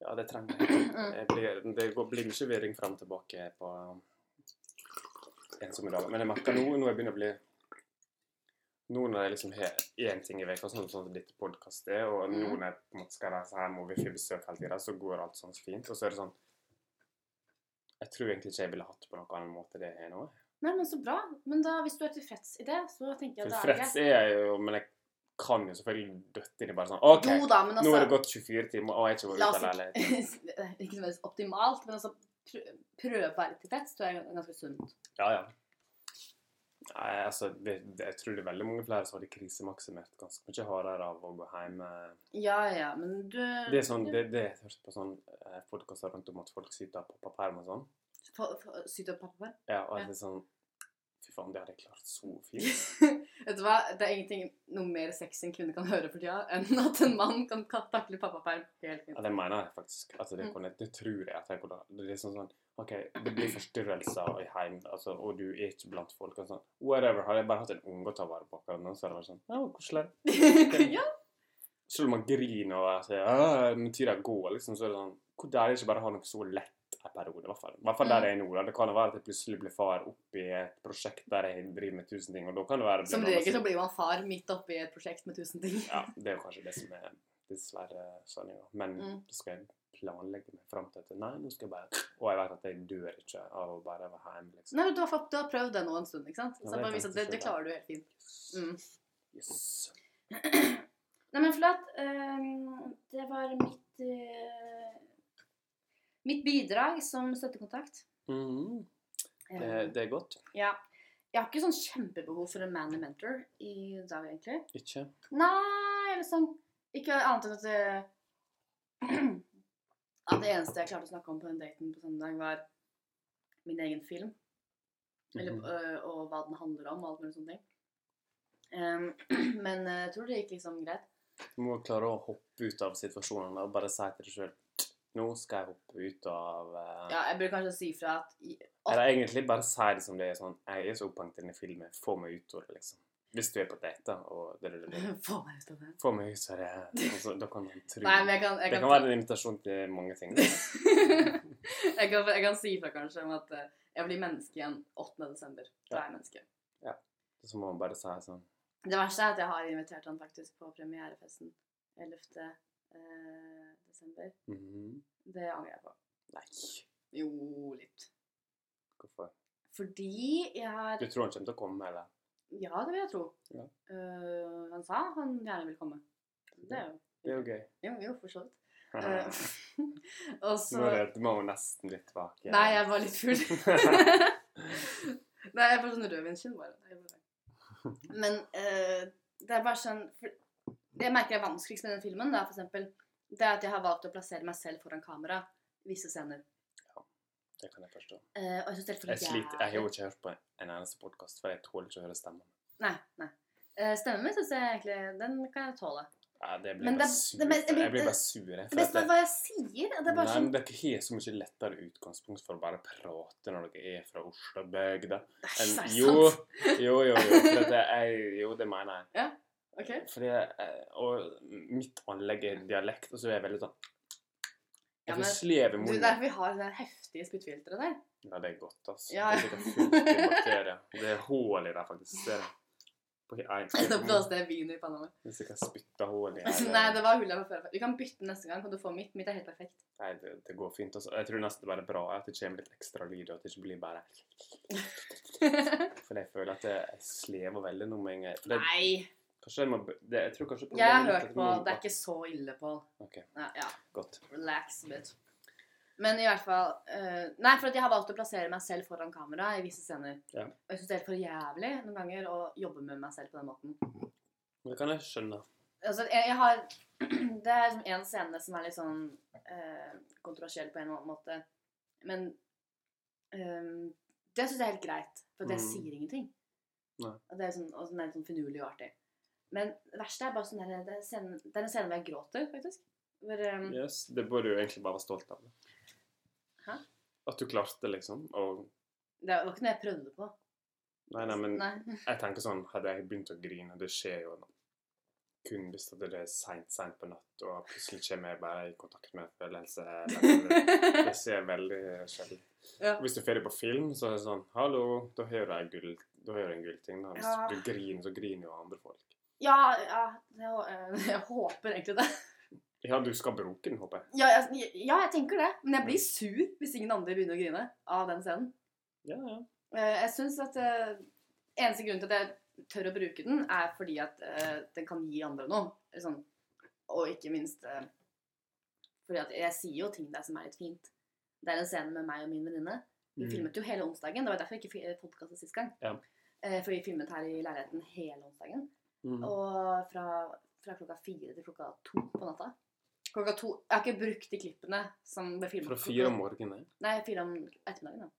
[SPEAKER 1] Ja, det trenger jeg.
[SPEAKER 2] Mm.
[SPEAKER 1] jeg blir, det går, blir mye vering fram og tilbake på ensomme dager. Men jeg merker nå når jeg begynner å bli Nå når jeg liksom har én ting i veka, sånn som dette podkastet er, og
[SPEAKER 2] Mm.
[SPEAKER 1] nå når jeg på en måte skal reise hjem og vi får besøk hele tida, så går alt sånn fint. Og så er det sånn Jeg tror egentlig ikke jeg ville hatt det på noen annen måte det jeg har nå.
[SPEAKER 2] Nei, men så bra. Men da, hvis du er tilfreds i det, så tenker jeg da er det
[SPEAKER 1] Tilfreds
[SPEAKER 2] greit.
[SPEAKER 1] er jeg jo, men jeg kan jo selvfølgelig døtte inn i bare sånn OK,
[SPEAKER 2] Jo da, men altså
[SPEAKER 1] nå er det gått 24 timer, og jeg har ikke
[SPEAKER 2] La
[SPEAKER 1] vært
[SPEAKER 2] oss
[SPEAKER 1] ute av leiligheten.
[SPEAKER 2] ikke Ikke nødvendigvis optimalt, men altså prø- prøve å være tilfreds tror jeg er ganske sunt.
[SPEAKER 1] Ja, ja. Nei, altså, det, det, jeg tror det er veldig mange flere som hadde krisemaksimert ganske mye hardere av å gå hjem. eh.
[SPEAKER 2] Ja, ja, men du
[SPEAKER 1] Det er sånn, det, det jeg hørte på sånn eh, podkaster rundt om at folk sitter og popper perm og sånn.
[SPEAKER 2] Få- få- Sydd opp pappa?
[SPEAKER 1] Ja, og
[SPEAKER 2] Ja.
[SPEAKER 1] jeg er sånn Fy faen, det hadde jeg klart så fint.
[SPEAKER 2] Vet du hva? Det er ingenting noe mer sexy en kvinne kan høre for tida, enn at en mann kan ka- takle pappaperm helt
[SPEAKER 1] Ja,
[SPEAKER 2] fint.
[SPEAKER 1] det mener jeg faktisk. Altså, det,
[SPEAKER 2] Mm.
[SPEAKER 1] kunne, det tror jeg at jeg kunne Det er sånn sånn OK, det blir forstyrrelser i heim, altså, og du er ikke blant folk og sånn. Whatever. Hadde jeg bare hatt en unge å ta vare på akkurat nå, så hadde det vært sånn Ja, koselig.
[SPEAKER 2] ja,
[SPEAKER 1] Selv om man griner og sier «Åh, men tida går, liksom, så er det sånn Hvor der er ikke bare å ha noe så lett en periode, i hvert fall. I hvert
[SPEAKER 2] Mm.
[SPEAKER 1] fall der jeg er nå. da. Det kan jo være at jeg plutselig blir far oppi et prosjekt der jeg driver med tusen ting, og da kan det være det blir
[SPEAKER 2] Som
[SPEAKER 1] noe
[SPEAKER 2] regel så
[SPEAKER 1] som-
[SPEAKER 2] blir man far midt oppi et prosjekt med tusen ting.
[SPEAKER 1] Ja, det er jo kanskje det som er dessverre sanninga. Men
[SPEAKER 2] Mm.
[SPEAKER 1] så skal jeg planlegge meg fram til at nei, nå skal jeg bare Og jeg vet at jeg dør ikke av å bare være hjemme, liksom.
[SPEAKER 2] Nei, men du har, fått, du har prøvd det nå en stund, ikke sant?
[SPEAKER 1] Ja,
[SPEAKER 2] Så
[SPEAKER 1] det
[SPEAKER 2] bare
[SPEAKER 1] kan
[SPEAKER 2] vis at det,
[SPEAKER 1] jeg
[SPEAKER 2] det
[SPEAKER 1] forstå, ja.
[SPEAKER 2] klarer du helt fint. Mm.
[SPEAKER 1] Yes.
[SPEAKER 2] Nei, men flott. Ehm, det var mitt eh, Mitt bidrag som støttekontakt.
[SPEAKER 1] Mhm.
[SPEAKER 2] Ehm,
[SPEAKER 1] det, det er godt.
[SPEAKER 2] ja. Jeg har ikke sånn kjempebehov for en man and mentor i dag, egentlig.
[SPEAKER 1] Ikke?
[SPEAKER 2] Nei, eller sånn Ikke annet enn at det At det eneste jeg klarte å snakke om på den daten på søndag, var min egen film. Eller,
[SPEAKER 1] Mhm.
[SPEAKER 2] øh, og hva den handler om, og alt mulig sånne ting. Ehm, men øh, jeg tror det gikk liksom greit.
[SPEAKER 1] Du må klare å hoppe ut av situasjonene og bare si til deg sjøl Nå skal jeg hoppe ut av eh,
[SPEAKER 2] Ja, jeg burde kanskje si fra at i-
[SPEAKER 1] Eller egentlig bare si det som det er sånn Jeg er så opphengt i denne filmen. Få meg ut av det, liksom. Hvis du er på date, da, og det, det, det.
[SPEAKER 2] Få meg ut av det.
[SPEAKER 1] Få meg ut av det. Altså, da kan man tro
[SPEAKER 2] Nei, men jeg kan, jeg
[SPEAKER 1] Det
[SPEAKER 2] kan,
[SPEAKER 1] kan være en invitasjon til mange ting.
[SPEAKER 2] jeg kan, jeg kan si fra kanskje om at eh, jeg blir menneske igjen 8. desember. Da
[SPEAKER 1] Ja.
[SPEAKER 2] er jeg menneske.
[SPEAKER 1] Så må man bare si sånn
[SPEAKER 2] Det verste er at jeg har invitert han faktisk på premierefesten 11. eh, desember.
[SPEAKER 1] mhm,
[SPEAKER 2] Det angrer jeg på.
[SPEAKER 1] Nei,
[SPEAKER 2] Jo, litt.
[SPEAKER 1] hvorfor?
[SPEAKER 2] Fordi jeg har
[SPEAKER 1] Du tror han kommer til å komme, eller?
[SPEAKER 2] Ja, det vil jeg tro.
[SPEAKER 1] Ja.
[SPEAKER 2] Eh, han sa han gjerne ville komme. Det er jo
[SPEAKER 1] Det er jo gøy.
[SPEAKER 2] Jo, jo for så vidt. Eh, og så
[SPEAKER 1] Nå er det, må hun nesten litt tilbake.
[SPEAKER 2] Nei, jeg var litt full. Nei, jeg får sånn rødvinskinn bare. Nei, jeg bare- Men eh, det er bare sånn for Det jeg merker er vanskeligst med den filmen, da, for eksempel, det er at jeg har valgt å plassere meg selv foran kamera i visse scener.
[SPEAKER 1] Det kan jeg forstå.
[SPEAKER 2] Eh, og jeg synes det er for
[SPEAKER 1] Jeg sliter. Jeg har jo
[SPEAKER 2] jævlig.
[SPEAKER 1] ikke hørt på en eneste podkast, for jeg tåler ikke å høre stemmen.
[SPEAKER 2] Nei, nei. Eh, stemmen min syns jeg egentlig Den kan jeg tåle.
[SPEAKER 1] Ja, det blir
[SPEAKER 2] Men
[SPEAKER 1] bare
[SPEAKER 2] det-
[SPEAKER 1] sur.
[SPEAKER 2] det- men-
[SPEAKER 1] jeg,
[SPEAKER 2] men-
[SPEAKER 1] blir bare sur. jeg,
[SPEAKER 2] Det
[SPEAKER 1] for at
[SPEAKER 2] beste
[SPEAKER 1] jeg-
[SPEAKER 2] er hva jeg sier. og Det er bare
[SPEAKER 1] Nei, men
[SPEAKER 2] sånn
[SPEAKER 1] dere har så mye lettere utgangspunkt for å bare prate når dere er fra Oslobygda.
[SPEAKER 2] Æsj,
[SPEAKER 1] en-
[SPEAKER 2] er det
[SPEAKER 1] jo.
[SPEAKER 2] sant?
[SPEAKER 1] Jo, jo, jo. For at jeg, jo, det mener jeg.
[SPEAKER 2] Ok.
[SPEAKER 1] Fordi, jeg- og mitt anlegg er dialekt, og så er jeg veldig sånn
[SPEAKER 2] Ja,
[SPEAKER 1] Jeg
[SPEAKER 2] men-
[SPEAKER 1] får slev i
[SPEAKER 2] Du, det er
[SPEAKER 1] munnen.
[SPEAKER 2] derfor vi har det der heftige spyttfilteret der.
[SPEAKER 1] Ja, det er godt, altså.
[SPEAKER 2] Ja,
[SPEAKER 1] Det er
[SPEAKER 2] ja.
[SPEAKER 1] sikkert fullt i bakterier. Det er hull i det, faktisk. Ser jeg. På- nei,
[SPEAKER 2] Da
[SPEAKER 1] Det
[SPEAKER 2] blåste jeg vin i panna mi.
[SPEAKER 1] er sikkert spytta hull i hele-
[SPEAKER 2] Nei, det var hullet fra før. Vi kan bytte neste gang. Kan du få mitt? Mitt er helt perfekt.
[SPEAKER 1] Nei, det, det går fint. Altså. Jeg tror nesten det bare er bra at det kommer litt ekstra lyd, og at det ikke blir bare For jeg føler at jeg jeg slever veldig nå med en gang. For det-
[SPEAKER 2] Nei.
[SPEAKER 1] Kanskje jeg må b- det, Jeg tror kanskje
[SPEAKER 2] Jeg har
[SPEAKER 1] problemet mitt er
[SPEAKER 2] hørt
[SPEAKER 1] at
[SPEAKER 2] på
[SPEAKER 1] jeg må-
[SPEAKER 2] Det er ikke så ille, Pål.
[SPEAKER 1] Ok,
[SPEAKER 2] Ja, ja,
[SPEAKER 1] godt.
[SPEAKER 2] relax a bit. Men i hvert fall eh, Nei, for at jeg har valgt å plassere meg selv foran kamera i visse scener.
[SPEAKER 1] Ja.
[SPEAKER 2] Og jeg syns det er helt for jævlig noen ganger å jobbe med meg selv på den måten.
[SPEAKER 1] Det kan jeg skjønne.
[SPEAKER 2] Altså, jeg, jeg har Det er liksom en scene som er litt sånn eh, kontroversiell på en eller annen måte. Men eh, det syns jeg er helt greit, for at jeg
[SPEAKER 1] Mm.
[SPEAKER 2] sier ingenting.
[SPEAKER 1] Nei.
[SPEAKER 2] Og det er sånn, og sånn er litt sånn finurlig og artig. Men det verste er bare sånn der, det, er scenen, det er en scene hvor jeg gråter, faktisk. Hvor, eh,
[SPEAKER 1] Yes, det burde du egentlig bare være stolt av.
[SPEAKER 2] Hæ?
[SPEAKER 1] At du klarte, liksom. Og
[SPEAKER 2] Det var ikke noe jeg prøvde på.
[SPEAKER 1] Nei, nei, men
[SPEAKER 2] Nei.
[SPEAKER 1] jeg tenker sånn Hadde jeg begynt å grine Det skjer jo nå. kun hvis det er seint, seint på natt, og plutselig kommer jeg bare i kontakt med en følelse. eller- Det skjer veldig sjelden.
[SPEAKER 2] Ja.
[SPEAKER 1] Og Hvis du får det på film, så er det sånn Hallo, da har du en gull- da har du en gullting. da. Hvis
[SPEAKER 2] Ja.
[SPEAKER 1] du griner, så griner jo andre folk.
[SPEAKER 2] ja, ja jeg, hå- eh, jeg håper egentlig det.
[SPEAKER 1] Ja, du skal bruke den, håper jeg.
[SPEAKER 2] Ja jeg, ja, jeg tenker det. Men
[SPEAKER 1] Mm.
[SPEAKER 2] jeg blir sur hvis ingen andre begynner å grine av den scenen.
[SPEAKER 1] Ja, ja.
[SPEAKER 2] Eh, Jeg synes at eh, eneste grunnen til at jeg tør å bruke den, er fordi at eh, den kan gi andre noe. Eller Sånn. Og ikke minst eh, fordi at jeg sier jo ting der som er litt fint. Det er en scene med meg og min venninne. Vi
[SPEAKER 1] Mm.
[SPEAKER 2] filmet jo hele onsdagen. Det var derfor jeg ikke fi- podcastet sist gang.
[SPEAKER 1] Ja.
[SPEAKER 2] Eh, For vi filmet her i leiligheten hele onsdagen.
[SPEAKER 1] Mm.
[SPEAKER 2] Og fra, fra klokka fire til klokka to på natta. Klokka to Jeg har ikke brukt de klippene som ble filmet.
[SPEAKER 1] Fra fire om
[SPEAKER 2] klokka-
[SPEAKER 1] morgenen?
[SPEAKER 2] Nei, fire om ettermiddagen. da.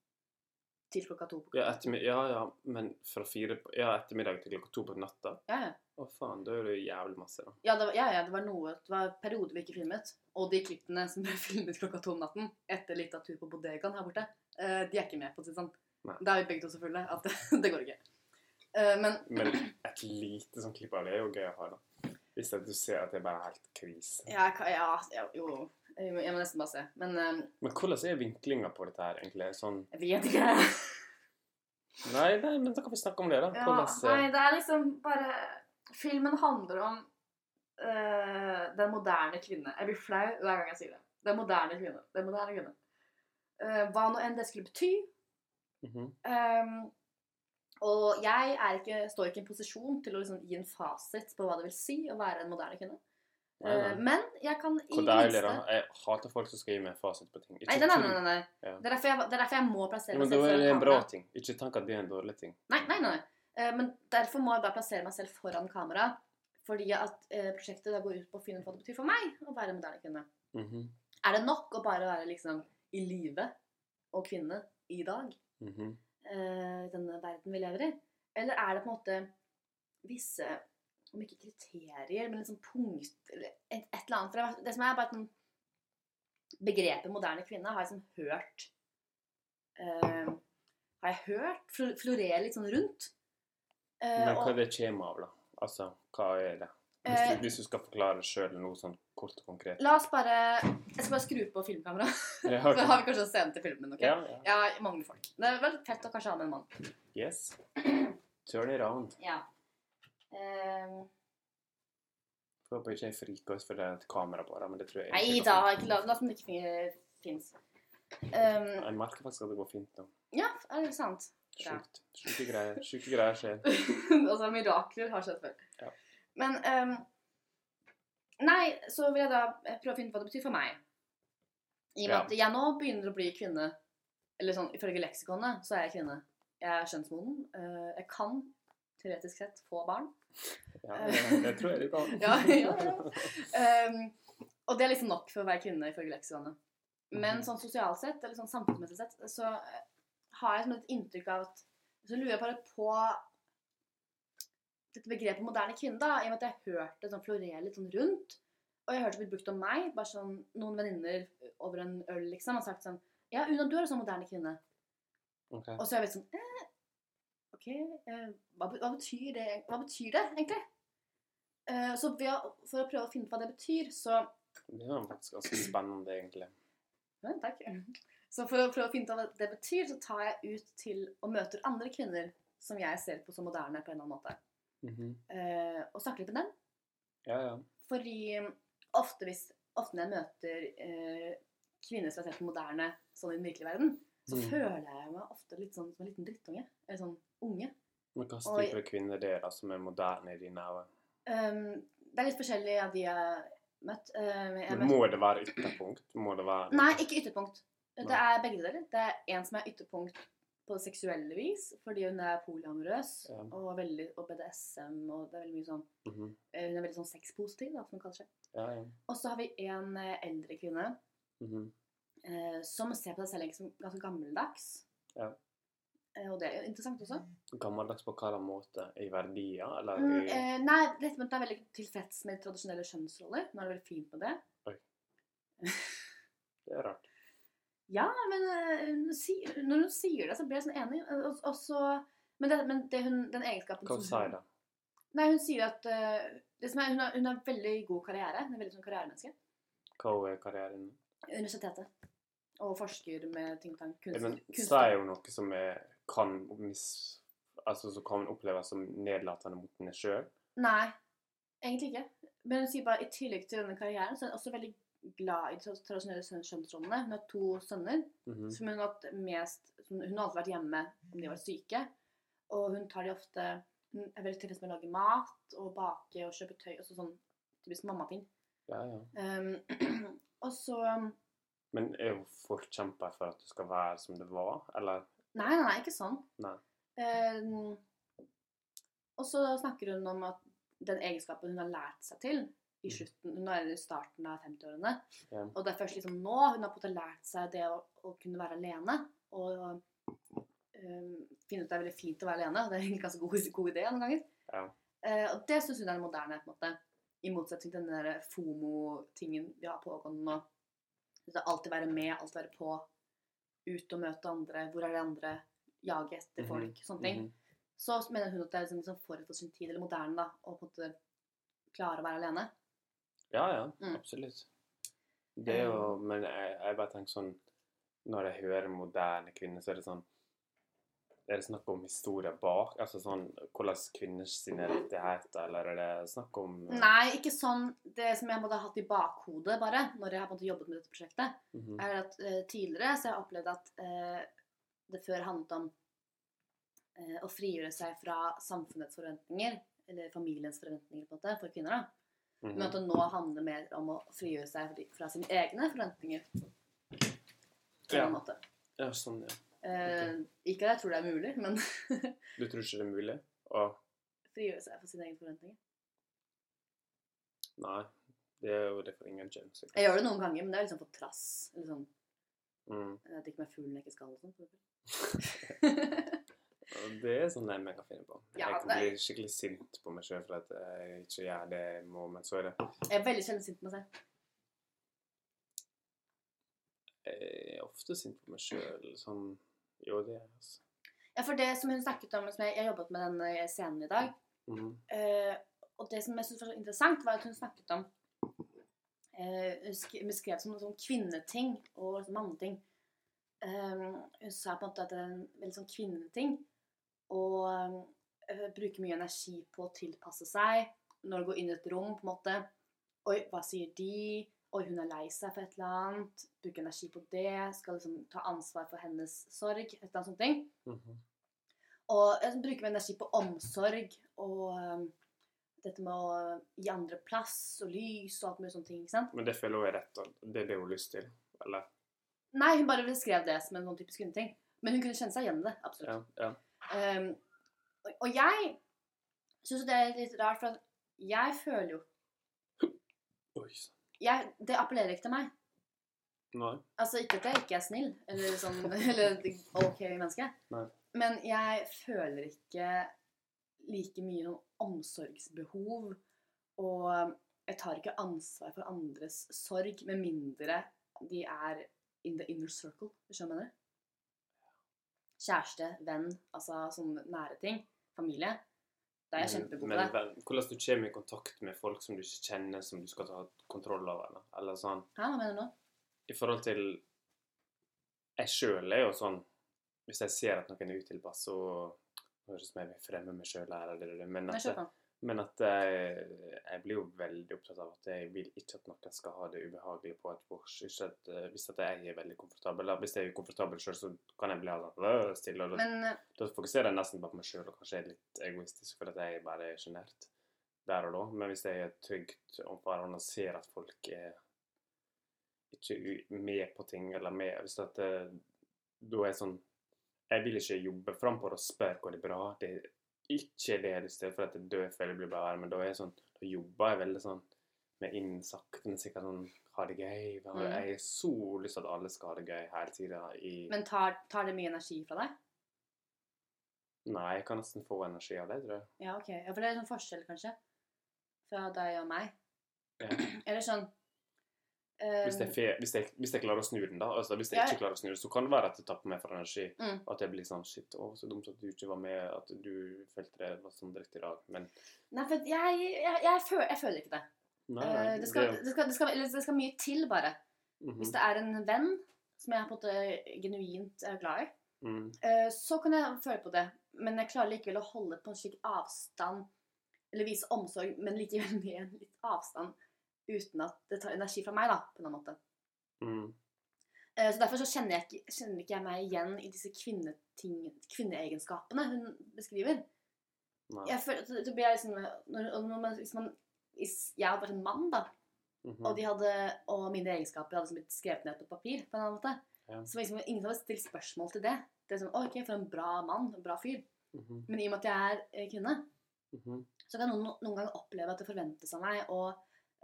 [SPEAKER 2] Til klokka to. på
[SPEAKER 1] Ja,
[SPEAKER 2] klokka to.
[SPEAKER 1] ettermiddag, ja, ja, men fra fire på, ja, ettermiddag til klokka to på natta?
[SPEAKER 2] Ja, ja.
[SPEAKER 1] Å faen, da er det jo jævlig masse, da.
[SPEAKER 2] Ja, det var, ja, ja, det var noe Det var perioder vi ikke filmet. Og de klippene som ble filmet klokka to om natten etter litt av tur på bodegaen her borte, eh, de er ikke med, på å si det sånn.
[SPEAKER 1] Nei.
[SPEAKER 2] Da er vi begge to så fulle at det går ikke. Eh, men
[SPEAKER 1] Men et lite sånn klipp av det er jo gøy å ha, da. Hvis at du ser at det er bare helt krise.
[SPEAKER 2] ja, ka- ja, ja jo jo. Jeg må, jeg må nesten bare se. Men eh,
[SPEAKER 1] Men hvordan er vinklinga på dette her, egentlig? Sånn
[SPEAKER 2] jeg vet ikke.
[SPEAKER 1] Nei, nei, men da kan vi snakke om det, da.
[SPEAKER 2] Ja,
[SPEAKER 1] Hvordan
[SPEAKER 2] nei, det er liksom bare Filmen handler om eh, den moderne kvinne. Jeg blir flau hver gang jeg sier det. Den moderne kvinne. Den moderne kvinne. Eh, hva nå enn det skulle bety.
[SPEAKER 1] Mhm.
[SPEAKER 2] Ehm, Og jeg er ikke, står ikke i en posisjon til å liksom gi en fasit på hva det vil si å være en moderne kvinne.
[SPEAKER 1] Nei, nei.
[SPEAKER 2] Eh, Men jeg kan i
[SPEAKER 1] Hvor
[SPEAKER 2] det
[SPEAKER 1] deilig,
[SPEAKER 2] minste
[SPEAKER 1] da. Jeg hater folk som skal gi meg fasit på ting. Ikke
[SPEAKER 2] Nei, nei, nei.
[SPEAKER 1] tenk-
[SPEAKER 2] nei, nei.
[SPEAKER 1] Ja.
[SPEAKER 2] Det, er derfor jeg, det er derfor jeg må plassere
[SPEAKER 1] Ja, men
[SPEAKER 2] meg
[SPEAKER 1] da
[SPEAKER 2] selv
[SPEAKER 1] er
[SPEAKER 2] foran
[SPEAKER 1] det en bra
[SPEAKER 2] kamera.
[SPEAKER 1] ting. Ikke tenk at det er en dårlig ting.
[SPEAKER 2] Nei, nei, nei. Eh, Men derfor må jeg bare plassere meg selv foran kamera. Fordi at eh, prosjektet da går ut på å finne ut hva det betyr for meg å være en moderne kvinne.
[SPEAKER 1] Mhm,
[SPEAKER 2] Er det nok å bare være liksom i live og kvinne i dag?
[SPEAKER 1] mhm.
[SPEAKER 2] eh, denne verden vi lever i? Eller er det på en måte visse, om ikke kriterier, men liksom punkt eller et, et eller annet? For det, det som er bare sånn Begrepet moderne kvinne har jeg liksom hørt eh, Har jeg hørt fl- florere litt sånn rundt. Eh,
[SPEAKER 1] Men hva
[SPEAKER 2] og,
[SPEAKER 1] det kommer av, da? Altså, hva er det? Hvis
[SPEAKER 2] eh,
[SPEAKER 1] du, hvis du skal forklare sjøl noe sånn kort og konkret.
[SPEAKER 2] la oss bare Jeg skal bare skru på filmkameraet.
[SPEAKER 1] Jeg
[SPEAKER 2] Så har vi
[SPEAKER 1] har
[SPEAKER 2] kanskje en scene til filmen. ok?
[SPEAKER 1] Ja, ja.
[SPEAKER 2] Ja, jeg mangler folk. Det er veldig fett å kanskje ha med en mann.
[SPEAKER 1] Yes. Turn it on.
[SPEAKER 2] Ja. Eh,
[SPEAKER 1] Jeg håper ikke jeg friker oss for det er et kamera på det, men det tror jeg
[SPEAKER 2] Nei
[SPEAKER 1] egentlig
[SPEAKER 2] da,
[SPEAKER 1] går fint.
[SPEAKER 2] ikke la, la som det ikke fins. Um,
[SPEAKER 1] Jeg merker faktisk at det går fint nå.
[SPEAKER 2] ja, er det sant? Bra.
[SPEAKER 1] Sjukt. Sjuke greier. Sjuke greier skjer.
[SPEAKER 2] altså, mirakler har skjedd før.
[SPEAKER 1] Ja.
[SPEAKER 2] Men um, Nei, så vil jeg da eh, prøve å finne ut hva det betyr for meg. I og med
[SPEAKER 1] Ja.
[SPEAKER 2] at jeg nå begynner å bli kvinne. Eller sånn, ifølge leksikonet så er jeg kvinne. Jeg er skjønnsmoden. eh, jeg kan teoretisk sett få barn.
[SPEAKER 1] Ja, det, det tror jeg du kan.
[SPEAKER 2] Ja, ja, Um, og det er liksom nok for å være kvinne, ifølge leksikonet. Men
[SPEAKER 1] Mhm.
[SPEAKER 2] sånn sosialt sett, eller sånn samfunnsmessig sett, så eh, har jeg som et inntrykk av at Så lurer jeg bare på dette begrepet moderne kvinne, da, i og med at jeg har hørt det sånn florere litt sånn rundt. Og jeg har hørt det blitt brukt om meg, bare sånn noen venninner over en øl, liksom, har sagt sånn Ja, Una, du er en sånn moderne kvinne.
[SPEAKER 1] Ok.
[SPEAKER 2] Og så er jeg litt sånn eh, OK, eh, hva, be- hva, betyr det, hva betyr det egentlig? Eh, så ved å, for å prøve å finne ut hva det betyr, så
[SPEAKER 1] Det var faktisk ganske spennende, egentlig.
[SPEAKER 2] Ja, takk. Så for å prøve å finne ut hva det betyr, så tar jeg ut til og møter andre kvinner som jeg ser på som moderne på en eller annen måte,
[SPEAKER 1] Mhm.
[SPEAKER 2] eh, og snakker litt med dem.
[SPEAKER 1] Ja, ja.
[SPEAKER 2] Fordi ofte, hvis, ofte når jeg møter eh, kvinner som er sett på moderne sånn i den virkelige verden, så
[SPEAKER 1] Mm.
[SPEAKER 2] føler jeg meg ofte litt sånn som en liten drittunge. Eller sånn unge.
[SPEAKER 1] Men hva
[SPEAKER 2] Oi.
[SPEAKER 1] slags type kvinner det er da, som er moderne i dine øyne?
[SPEAKER 2] Ehm, det er litt forskjellig av de jeg har møtt. Ehm, jeg har
[SPEAKER 1] Men
[SPEAKER 2] møtt-
[SPEAKER 1] Må det være ytterpunkt? Må det være
[SPEAKER 2] Nei, ikke ytterpunkt. Det
[SPEAKER 1] Nei.
[SPEAKER 2] er begge deler. Det er en som er ytterpunkt på seksuelle vis, fordi hun er polyamorøs
[SPEAKER 1] Ja.
[SPEAKER 2] og, veldig, og BDSM og det er veldig mye sånn
[SPEAKER 1] Mhm.
[SPEAKER 2] eh, Hun er veldig sånn sexpositiv, da, som hun kaller seg.
[SPEAKER 1] Ja, ja.
[SPEAKER 2] Og så har vi en eh, eldre kvinne
[SPEAKER 1] Mhm.
[SPEAKER 2] eh, som ser på seg selv som ganske gammeldags.
[SPEAKER 1] Ja.
[SPEAKER 2] Eh, og det er jo interessant også.
[SPEAKER 1] Gammeldags på hvilken måte? I verdier, eller
[SPEAKER 2] Mm,
[SPEAKER 1] i
[SPEAKER 2] eh, nei, rett og slett er veldig tilfreds med tradisjonelle kjønnsroller. Hun er veldig fint med det.
[SPEAKER 1] Det er rart.
[SPEAKER 2] Ja, men eh, hun sier, når hun sier det, så blir jeg sånn enig. eh, Og, og så, men det, men det hun, den egenskapen
[SPEAKER 1] Hva sier det?
[SPEAKER 2] Nei, hun sier at eh, det som er, hun, har, hun har veldig god karriere. Hun er veldig sånn karrieremenneske.
[SPEAKER 1] Hva er karrieren?
[SPEAKER 2] Universitetet. Og forsker med ting tang.
[SPEAKER 1] Ja,
[SPEAKER 2] Kunst,
[SPEAKER 1] Eh, Men
[SPEAKER 2] kunstner.
[SPEAKER 1] sier jo noe som er, kan mis... Altså, som kan oppleves som nedlatende mot henne sjøl.
[SPEAKER 2] Nei, egentlig ikke. Men hun sier bare i tillegg til denne karrieren, så er hun også veldig glad i de tra- tradisjonelle sønn- kjønnsrollene. Hun har to sønner.
[SPEAKER 1] Mhm. Mm.
[SPEAKER 2] som hun har hatt mest som Hun har alltid vært hjemme om de var syke. Og hun tar de ofte Hun er veldig tilfreds med å lage mat og bake og kjøpe tøy. Også sånn typisk mammating.
[SPEAKER 1] Ja, ja.
[SPEAKER 2] Um, og så Nei,
[SPEAKER 1] Men er hun forkjemper for at du skal være som det var, eller?
[SPEAKER 2] nei, nei, ikke sånn.
[SPEAKER 1] Nei.
[SPEAKER 2] Um, og så snakker hun om at den egenskapen hun har lært seg til i slutten, Hun er i starten av 50-årene.
[SPEAKER 1] Ja.
[SPEAKER 2] Og det er først liksom nå hun har på en måte lært seg det å, å kunne være alene. Og um, finne ut at det er veldig fint å være alene. Det er egentlig ganske god, god idé noen ganger.
[SPEAKER 1] Ja.
[SPEAKER 2] Eh, og det syns hun er moderne, på en måte. I motsetning til den der FOMO-tingen vi har pågående nå. Det er Alltid være med, alltid være på. Ut og møte andre. Hvor er de andre? Jage etter
[SPEAKER 1] Mhm,
[SPEAKER 2] folk. Sånne ting.
[SPEAKER 1] Mhm.
[SPEAKER 2] Så mener hun at det er liksom, liksom forut for sin tid, eller moderne, da, å på en måte klare å være alene.
[SPEAKER 1] Ja, ja.
[SPEAKER 2] Mm.
[SPEAKER 1] Absolutt. Det er jo Men jeg, jeg bare tenker sånn Når jeg hører moderne kvinner, så er det sånn Er det snakk om historier bak? Altså sånn hvordan kvinners sine rettigheter, eller er det snakk om
[SPEAKER 2] Mm.
[SPEAKER 1] eh,
[SPEAKER 2] Nei, ikke sånn det som jeg måtte ha hatt i bakhodet bare, når jeg har på en måte jobbet med dette prosjektet,
[SPEAKER 1] Mhm.
[SPEAKER 2] er at eh, tidligere så har jeg opplevd at eh, det før handlet om eh, å frigjøre seg fra samfunnets forventninger, eller familiens forventninger på en måte, for kvinner. da. Men at
[SPEAKER 1] Mhm.
[SPEAKER 2] det nå handler mer om å frigjøre seg fra- fra sine egne forventninger. På en
[SPEAKER 1] Ja.
[SPEAKER 2] måte.
[SPEAKER 1] Ja, sånn, ja.
[SPEAKER 2] Eh, ikke at jeg tror det er mulig, men
[SPEAKER 1] Du tror ikke det er mulig? Å,
[SPEAKER 2] frigjøre seg fra sine egne forventninger.
[SPEAKER 1] nei. Det er jo det for ingen kjønn. sikkert.
[SPEAKER 2] Jeg gjør det noen ganger, men det er liksom på trass. Eller sånn,
[SPEAKER 1] Mm.
[SPEAKER 2] jeg drikker meg full når jeg Eh, ikke skal og sånn. for eksempel.
[SPEAKER 1] Og Det er sånn jeg kan finne på.
[SPEAKER 2] Ja,
[SPEAKER 1] jeg kan
[SPEAKER 2] nei.
[SPEAKER 1] bli skikkelig sint på meg sjøl for at jeg ikke gjør det jeg må, men så er det
[SPEAKER 2] jeg er veldig sjelden sint på meg selv.
[SPEAKER 1] Jeg er ofte sint på meg sjøl. Sånn Jo, det er jeg, altså.
[SPEAKER 2] Ja, for det som hun snakket om, som jeg, jeg jobbet med den eh, scenen i dag,
[SPEAKER 1] Mhm.
[SPEAKER 2] eh, og det som jeg syntes var så interessant, var at hun snakket om eh, Hun sk- beskrev som noe sånn kvinneting og liksom manneting. Um, hun sa på en måte at det er en veldig sånn kvinneting å eh, bruke mye energi på å tilpasse seg når du går inn i et rom, på en måte. Oi, hva sier de? Oi, hun er lei seg for et eller annet. Bruke energi på det. Skal liksom ta ansvar for hennes sorg. Et eller annet sånt. ting.
[SPEAKER 1] Mhm.
[SPEAKER 2] Og jeg bruker mye energi på omsorg og øhm, dette med å gi andre plass og lys og alt mulig sånne ting. ikke sant?
[SPEAKER 1] Men det føler hun er rett, og det er det hun har lyst til. Eller?
[SPEAKER 2] Nei, hun bare beskrev det som en sånn typisk hundeting. Men hun kunne kjenne seg igjen i det. absolutt.
[SPEAKER 1] Ja. ja.
[SPEAKER 2] Øhm, og, og jeg syns det er litt rart, for at jeg føler jo
[SPEAKER 1] Oi sann.
[SPEAKER 2] jeg, Det appellerer ikke til meg.
[SPEAKER 1] Nei.
[SPEAKER 2] Altså ikke at jeg ikke er snill, eller sånn, eller et ok menneske.
[SPEAKER 1] Nei.
[SPEAKER 2] Men jeg føler ikke like mye noe omsorgsbehov. Og jeg tar ikke ansvar for andres sorg, med mindre de er in the inner circle. Hvis du skjønner hva jeg mener? Kjæreste, venn, altså sånne nære ting. Familie. Da er jeg
[SPEAKER 1] Men-
[SPEAKER 2] kjempegod på
[SPEAKER 1] men
[SPEAKER 2] det.
[SPEAKER 1] hvem- Hvordan du kommer i kontakt med folk som du ikke kjenner, som du skal ta kontroll over? Eller, eller sånn.
[SPEAKER 2] Hæ, hva mener du nå?
[SPEAKER 1] I forhold til Jeg sjøl er jo sånn Hvis jeg ser at noen er utilpass, så høres det ut som jeg vil fremme meg sjøl her, eller det, det, men
[SPEAKER 2] Nei,
[SPEAKER 1] at,
[SPEAKER 2] kjør på.
[SPEAKER 1] men at jeg, jeg blir jo veldig opptatt av at jeg vil ikke at noen skal ha det ubehagelig på et vors. Ikke at, eh, hvis at jeg er veldig komfortabel, eller hvis jeg er ukomfortabel sjøl, så kan jeg bli av det stille. Og da
[SPEAKER 2] Men eh,
[SPEAKER 1] da fokuserer jeg nesten bare på meg sjøl, og kanskje er litt egoistisk fordi jeg bare er sjenert der og da. Men hvis jeg er trygt overfor andre og ser at folk er ikke u- med på ting, eller med hvis at eh, Da er jeg sånn Jeg vil ikke jobbe fram for å spørre hva det er bra. Det er ikke det jeg har lyst til, for at jeg dør før jeg blir bare men da er jeg sånn Da jobber jeg veldig sånn med inn sakte, men sikkert sånn Ha det gøy. ha det-
[SPEAKER 2] Mhm.
[SPEAKER 1] Jeg har så lyst til at alle skal ha det gøy hele tida i
[SPEAKER 2] men tar, tar det mye energi fra deg?
[SPEAKER 1] Nei, jeg kan nesten få energi av det, tror jeg.
[SPEAKER 2] Ja, ok. Ja, for det er sånn forskjell, kanskje, fra deg og meg.
[SPEAKER 1] Ja.
[SPEAKER 2] Eller sånn
[SPEAKER 1] Hvis jeg,
[SPEAKER 2] ehm,
[SPEAKER 1] fe- hvis, jeg, hvis jeg klarer å snu den, da. Altså, hvis jeg
[SPEAKER 2] Ja, ja.
[SPEAKER 1] ikke klarer å snu den, så kan det være at det tapper meg for energi.
[SPEAKER 2] Mm.
[SPEAKER 1] At jeg blir sånn Shit, å, så dumt at du ikke var med, at du følte det var sånn dritt i dag. Men
[SPEAKER 2] Nei, for at jeg, jeg, jeg, føler, jeg føler ikke det.
[SPEAKER 1] nei,
[SPEAKER 2] Eh,
[SPEAKER 1] nei,
[SPEAKER 2] det, skal,
[SPEAKER 1] det-
[SPEAKER 2] det, skal, det, skal, eller det skal mye til, bare.
[SPEAKER 1] mhm,
[SPEAKER 2] Hvis det er en venn som jeg på en måte genuint er glad i,
[SPEAKER 1] mm,
[SPEAKER 2] eh, så kan jeg føle på det. Men jeg klarer likevel å holde på en slik avstand, eller vise omsorg, men likevel med en litt avstand, uten at det tar energi fra meg, da, på en eller annen måte.
[SPEAKER 1] mm,
[SPEAKER 2] Eh, Så Derfor så kjenner, jeg ikke, kjenner ikke jeg meg igjen i disse kvinneting, kvinneegenskapene hun beskriver.
[SPEAKER 1] nei.
[SPEAKER 2] Jeg føler, så, så blir jeg liksom, når, og når man, hvis, man, hvis jeg hadde vært en mann, da,
[SPEAKER 1] mhm,
[SPEAKER 2] og, de hadde, og mine egenskaper hadde liksom blitt skrevet ned på papir, på en annen måte,
[SPEAKER 1] Ja.
[SPEAKER 2] så var liksom, ingen som hadde stilt spørsmål til det. Det er sånn, «Å, OK, for en bra mann, en bra fyr.
[SPEAKER 1] mhm,
[SPEAKER 2] Men i og med at jeg er eh, kvinne,
[SPEAKER 1] mhm,
[SPEAKER 2] så kan noen noen ganger oppleve at det forventes av meg å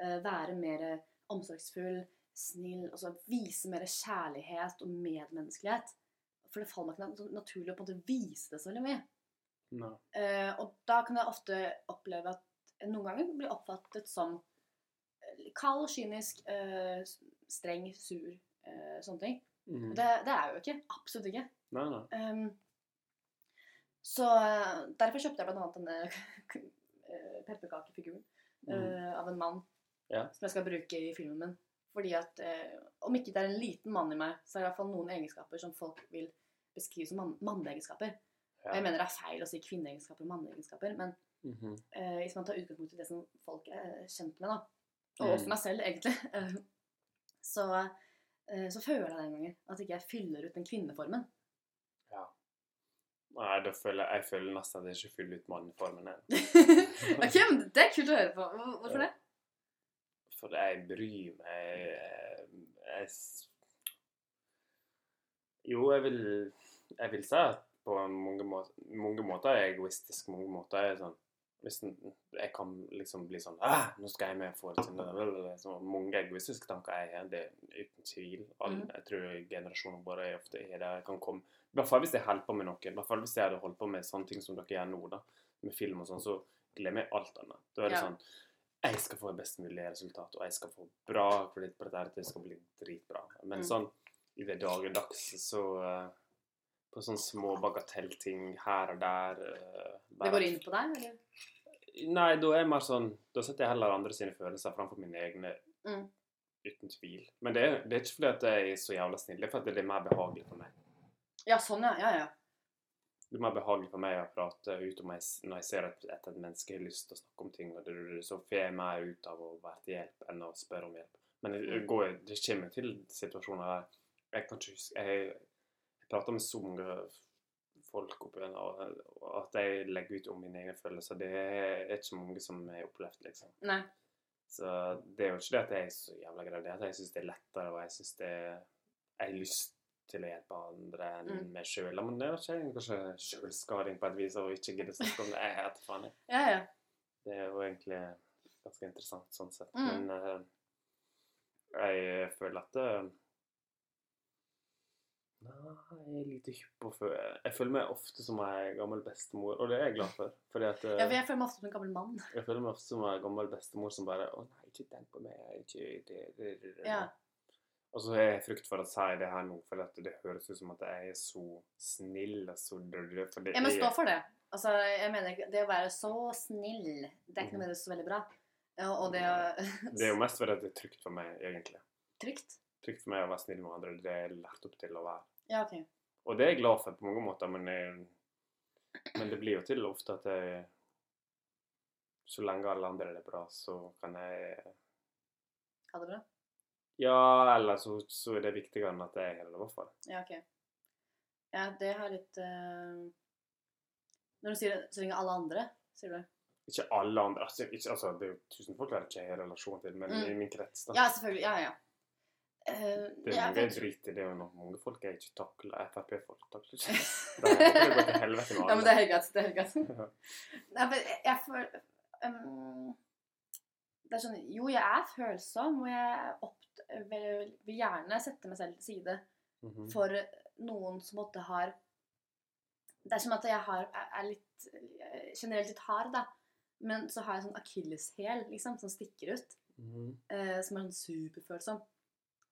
[SPEAKER 2] eh, være mer eh, omsorgsfull, snill, og så vise mer kjærlighet og medmenneskelighet. For det faller meg ikke nat- så naturlig å på en måte vise det så veldig mye.
[SPEAKER 1] nei.
[SPEAKER 2] Eh, og da kan jeg ofte oppleve at jeg noen ganger blir oppfattet som eh, kald, kynisk, eh, s- streng, sur, eh, sånne ting.
[SPEAKER 1] mhm.
[SPEAKER 2] Det, det er jeg jo ikke. Absolutt ikke.
[SPEAKER 1] Nei, nei.
[SPEAKER 2] Um, så eh, derfor kjøpte jeg blant annet denne k- eh, pepperkakefiguren
[SPEAKER 1] Mhm,
[SPEAKER 2] eh, av en mann
[SPEAKER 1] Ja.
[SPEAKER 2] som jeg skal bruke i filmen min. Fordi at eh, om ikke det er en liten mann i meg, så er det i hvert fall noen egenskaper som folk vil beskrive som mann manneegenskaper. Og
[SPEAKER 1] Ja.
[SPEAKER 2] jeg mener det er feil å si kvinneegenskaper og manneegenskaper, men
[SPEAKER 1] mhm,
[SPEAKER 2] eh, hvis man tar utgangspunkt i det som folk er kjent med, da, og
[SPEAKER 1] Mm.
[SPEAKER 2] også meg selv, egentlig, eh, så, eh, så føler jeg den gangen at ikke jeg fyller ut den kvinneformen.
[SPEAKER 1] Ja. Nei, da føler jeg, jeg føler nesten at jeg ikke fyller ut manneformen ennå.
[SPEAKER 2] ok, men det er kult å høre på. Hvor- Hvorfor det?
[SPEAKER 1] For jeg bryr meg jeg, jeg, s- Jo, jeg vil, jeg vil si at på mange måter, mange måter er jeg egoistisk. Mange måter er jeg sånn hvis en- Jeg kan liksom bli sånn ah, 'Nå skal jeg med for til det.' Så mange egoistiske tanker jeg har, det er uten tvil. Alle,
[SPEAKER 2] Mhm.
[SPEAKER 1] jeg tror generasjonen vår er ofte er der. Jeg kan komme I hvert fall hvis jeg holder på med noe. I hvert fall hvis jeg hadde holdt på med sånne ting som dere gjør nå, da. Med film og sånn, så glemmer jeg alt annet. Da er det
[SPEAKER 2] Ja.
[SPEAKER 1] sånn jeg skal få et best mulig resultat, og jeg skal få bra kreditt på dette, her, det skal bli dritbra. Men
[SPEAKER 2] Mm.
[SPEAKER 1] sånn i det dagligdags, så eh, På sånne små bagatellting her og der eh,
[SPEAKER 2] Det
[SPEAKER 1] bare-
[SPEAKER 2] går inn på deg? eller?
[SPEAKER 1] Nei, da er jeg mer sånn Da setter jeg heller andre sine følelser framfor mine egne.
[SPEAKER 2] Mm.
[SPEAKER 1] Uten tvil. Men det er, det er ikke fordi at jeg er så jævla snill, det er fordi det er mer behagelig for meg.
[SPEAKER 2] Ja, sånn, ja. Ja, ja.
[SPEAKER 1] det er mer behagelig for meg å prate ut om jeg, når jeg ser at at et menneske har lyst til å snakke om ting, og det, det- det- så får jeg mer ut av å være til hjelp enn å spørre om hjelp. Men det, det går, det kommer til situasjoner der jeg kan ikke huske Jeg, jeg prater med så mange folk opp igjen, og og at jeg legger ut om mine egne følelser, det er ikke så mange som har opplevd, liksom.
[SPEAKER 2] Nei.
[SPEAKER 1] Så det er jo ikke det at jeg er så jævla grei, det er at jeg syns det er lettere, og jeg syns det Jeg har lyst til å hjelpe andre enn
[SPEAKER 2] Mm.
[SPEAKER 1] meg sjøl. Men det er ikke egentlig kanskje sjølskading på et vis å ikke gidde å snakke om det. Jeg vet faen, jeg.
[SPEAKER 2] Ja, ja.
[SPEAKER 1] Det er jo egentlig ganske interessant sånn sett.
[SPEAKER 2] Mm.
[SPEAKER 1] Men eh, jeg føler at det Nei, jeg er lite hypp på før. Jeg føler meg ofte som ei gammel bestemor, og det er jeg glad for. Fordi at eh,
[SPEAKER 2] ja for jeg føler meg ofte som en gammel mann.
[SPEAKER 1] jeg føler meg ofte som en gammel bestemor som bare Å nei, ikke tenk på meg. jeg er Ikke, det, det, det, det.
[SPEAKER 2] Ja.
[SPEAKER 1] Og så har jeg frykt for å si det her nå, for at det høres ut som at jeg er så snill og så dølle. For det
[SPEAKER 2] Jeg må
[SPEAKER 1] er-
[SPEAKER 2] stå for det. Altså, jeg mener ikke Det å være så snill, det er ikke noe med det så veldig bra. Ja, Og det å
[SPEAKER 1] det er jo mest fordi at det er trygt for meg, egentlig.
[SPEAKER 2] Trygt.
[SPEAKER 1] Trygt for meg å være snill med andre. Det er jeg lært opp til å være.
[SPEAKER 2] Ja, OK.
[SPEAKER 1] Og det er jeg glad for på mange måter, men, jeg, men det blir jo til ofte at jeg Så lenge alle andre er det bra, så kan jeg
[SPEAKER 2] Ha det bra.
[SPEAKER 1] Ja, eller så, så er det viktigere enn at jeg har det, i hvert fall.
[SPEAKER 2] Ja, ok. Ja, det har litt eh, Når du sier det, så ringer alle andre, sier du?
[SPEAKER 1] ikke alle andre altså, ikke, altså, Det er jo tusen folk jeg ikke har relasjon til, men
[SPEAKER 2] Mm.
[SPEAKER 1] i min krets da.
[SPEAKER 2] Ja, selvfølgelig. Ja, ja. Eh,
[SPEAKER 1] Det er
[SPEAKER 2] ja,
[SPEAKER 1] mange
[SPEAKER 2] jeg
[SPEAKER 1] jeg
[SPEAKER 2] tror-
[SPEAKER 1] driter i, det er jo nok mange folk jeg ikke takler. Frp-folk takler ikke. Det er- det går til helvete med
[SPEAKER 2] Ja, men
[SPEAKER 1] alle.
[SPEAKER 2] det er helt greit. Det er helt greit. Nei, for jeg, jeg føler ehm, Det er sånn Jo, jeg er følsom, og jeg opp, vil, vil gjerne sette meg selv til side
[SPEAKER 1] Mhm.
[SPEAKER 2] for noen som måtte har Det er som at jeg har, er er litt eh, generelt litt hard, da. Men så har jeg sånn akilleshæl liksom, som stikker ut.
[SPEAKER 1] Mhm.
[SPEAKER 2] eh, som er sånn superfølsom.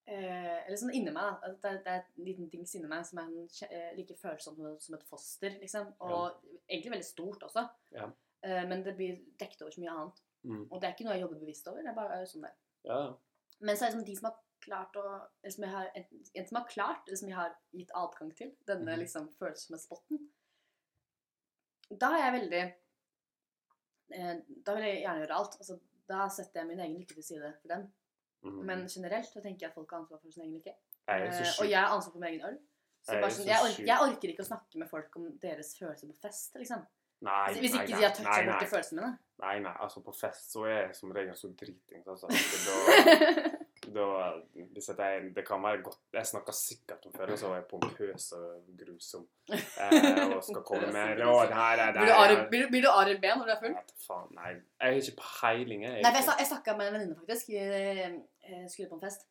[SPEAKER 2] Eh, eller sånn inni meg, da. At Det, er- det er en liten dings inni meg som er en, kje- eh, like følsom som, som et foster, liksom. Og egentlig veldig stort også.
[SPEAKER 1] Ja.
[SPEAKER 2] Eh, men det blir dekket over så mye annet.
[SPEAKER 1] Mm.
[SPEAKER 2] Og det er ikke noe jeg jobber bevisst over. Det er bare sånn det er.
[SPEAKER 1] Ja, ja.
[SPEAKER 2] Men så er det liksom de som har klart å eller som jeg har, en, en som har klart, eller som jeg har gitt adgang til, denne
[SPEAKER 1] Mhm.
[SPEAKER 2] liksom følsomme spotten Da er jeg veldig eh, Da vil jeg gjerne gjøre alt. Altså, da setter jeg min egen lykke til side for den.
[SPEAKER 1] Mhm.
[SPEAKER 2] Men generelt så tenker jeg at folk har ansvar for sin egen lykke.
[SPEAKER 1] jeg er så
[SPEAKER 2] Eh,
[SPEAKER 1] sjuk.
[SPEAKER 2] og jeg har ansvar for min egen øl. Så
[SPEAKER 1] Jeg er
[SPEAKER 2] bare
[SPEAKER 1] jo
[SPEAKER 2] sånn,
[SPEAKER 1] så
[SPEAKER 2] jeg, orker,
[SPEAKER 1] sjuk.
[SPEAKER 2] jeg orker ikke å snakke med folk om deres følelser på fest, liksom.
[SPEAKER 1] Nei,
[SPEAKER 2] Altså, Hvis
[SPEAKER 1] nei,
[SPEAKER 2] ikke
[SPEAKER 1] nei,
[SPEAKER 2] de har toucha
[SPEAKER 1] nei,
[SPEAKER 2] borti
[SPEAKER 1] nei.
[SPEAKER 2] følelsene mine.
[SPEAKER 1] Nei, nei, altså på fest så er jeg som regel så driting. Altså. Da,
[SPEAKER 2] ja,
[SPEAKER 1] da, hvis at jeg, det kan være godt Jeg snakker sikkert om følelser, og jeg er pompøs og grusom. Eh, og skal komme med
[SPEAKER 2] Pompøs og
[SPEAKER 1] Å, det her eh, er
[SPEAKER 2] blir, du Arild- blir, du- blir du Arild B når du er full?
[SPEAKER 1] Vet du faen, nei. Jeg har ikke peiling, jeg.
[SPEAKER 2] Nei, for jeg, snak- jeg snakka med en venninne, faktisk. eh, eh, Skulle på en fest.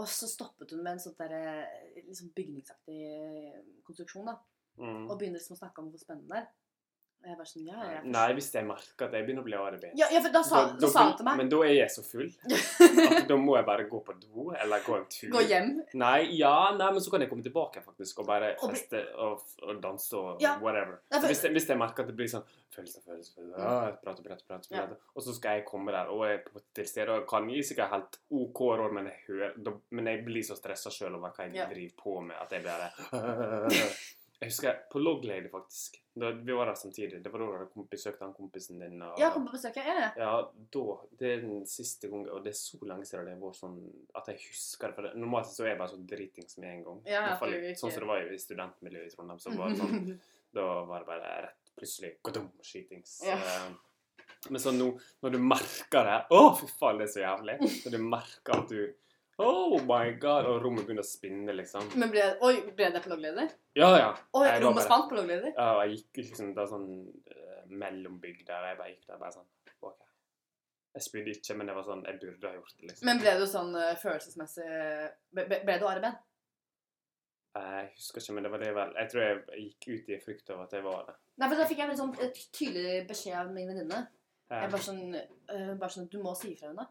[SPEAKER 2] Og så stoppet hun med en sånn der, eh, liksom bygningsaktig eh, konstruksjon, da.
[SPEAKER 1] Mm.
[SPEAKER 2] Og begynner liksom å snakke om hvor spennende det er. Og jeg bare sånn, ja, ja.
[SPEAKER 1] Nei, hvis jeg merker at jeg begynner å bli ARB.
[SPEAKER 2] Ja, ja, for da sa, da sa hun til meg
[SPEAKER 1] Men da er jeg så full at da må jeg bare gå på do eller gå en tur.
[SPEAKER 2] Gå hjem.
[SPEAKER 1] Nei, ja, nei, men så kan jeg komme tilbake faktisk og bare
[SPEAKER 2] Og bli-
[SPEAKER 1] feste og, og danse og
[SPEAKER 2] Ja.
[SPEAKER 1] whatever.
[SPEAKER 2] Nei, for-
[SPEAKER 1] Hvis jeg, hvis jeg merker at det blir sånn følelser, følelser, følelser, ah, prate, prate, prate,
[SPEAKER 2] Mm. Ja.
[SPEAKER 1] prate. Og så skal jeg komme der og jeg er på- til stede og kan gi sikkert helt OK råd, men jeg, hører, da, men jeg blir så stressa sjøl over hva jeg
[SPEAKER 2] Ja.
[SPEAKER 1] driver på med, at jeg bare Jeg husker på Log Lady, faktisk. Da vi var der samtidig. Det var da du besøkte han kompisen din. Og,
[SPEAKER 2] Ja, kom på besøk. Jeg er det.
[SPEAKER 1] Ja, da. Det er den siste gangen, og det er så lenge siden det var sånn at jeg husker det. For det, normalt så er jeg bare så dritings med en gang.
[SPEAKER 2] Ja, ja,
[SPEAKER 1] I hvert fall
[SPEAKER 2] for
[SPEAKER 1] i-
[SPEAKER 2] du ikke-
[SPEAKER 1] Sånn som det var i studentmiljøet i Trondheim. Så var det sånn, da var det bare rett plutselig godum, skytings.
[SPEAKER 2] Ja.
[SPEAKER 1] Eh, Men sånn nå, når du merker det Å, fy faen, det er så jævlig. Når du merker at du Oh my god! Og rommet begynner å spinne, liksom.
[SPEAKER 2] Men ble, oi, ble det på loggleder?
[SPEAKER 1] Ja, ja.
[SPEAKER 2] Oi,
[SPEAKER 1] Jeg var
[SPEAKER 2] rommet
[SPEAKER 1] bare-
[SPEAKER 2] spant på loggleder?
[SPEAKER 1] Ja, og jeg gikk liksom da sånn eh, mellombygg der, og jeg bare gikk der bare sånn ok. Jeg spydde ikke, men det var sånn, jeg burde ha gjort det, liksom.
[SPEAKER 2] Men ble du sånn eh, følelsesmessig Ble, ble ble du arg i ben?
[SPEAKER 1] Jeg husker ikke, men det var det vel. Jeg tror jeg gikk ut i frykt av at jeg var det.
[SPEAKER 2] Nei, for da fikk jeg en sånn et tydelig beskjed av min venninne.
[SPEAKER 1] Eh,
[SPEAKER 2] Jeg bare sånn, eh, bare sånn Du må si ifra henne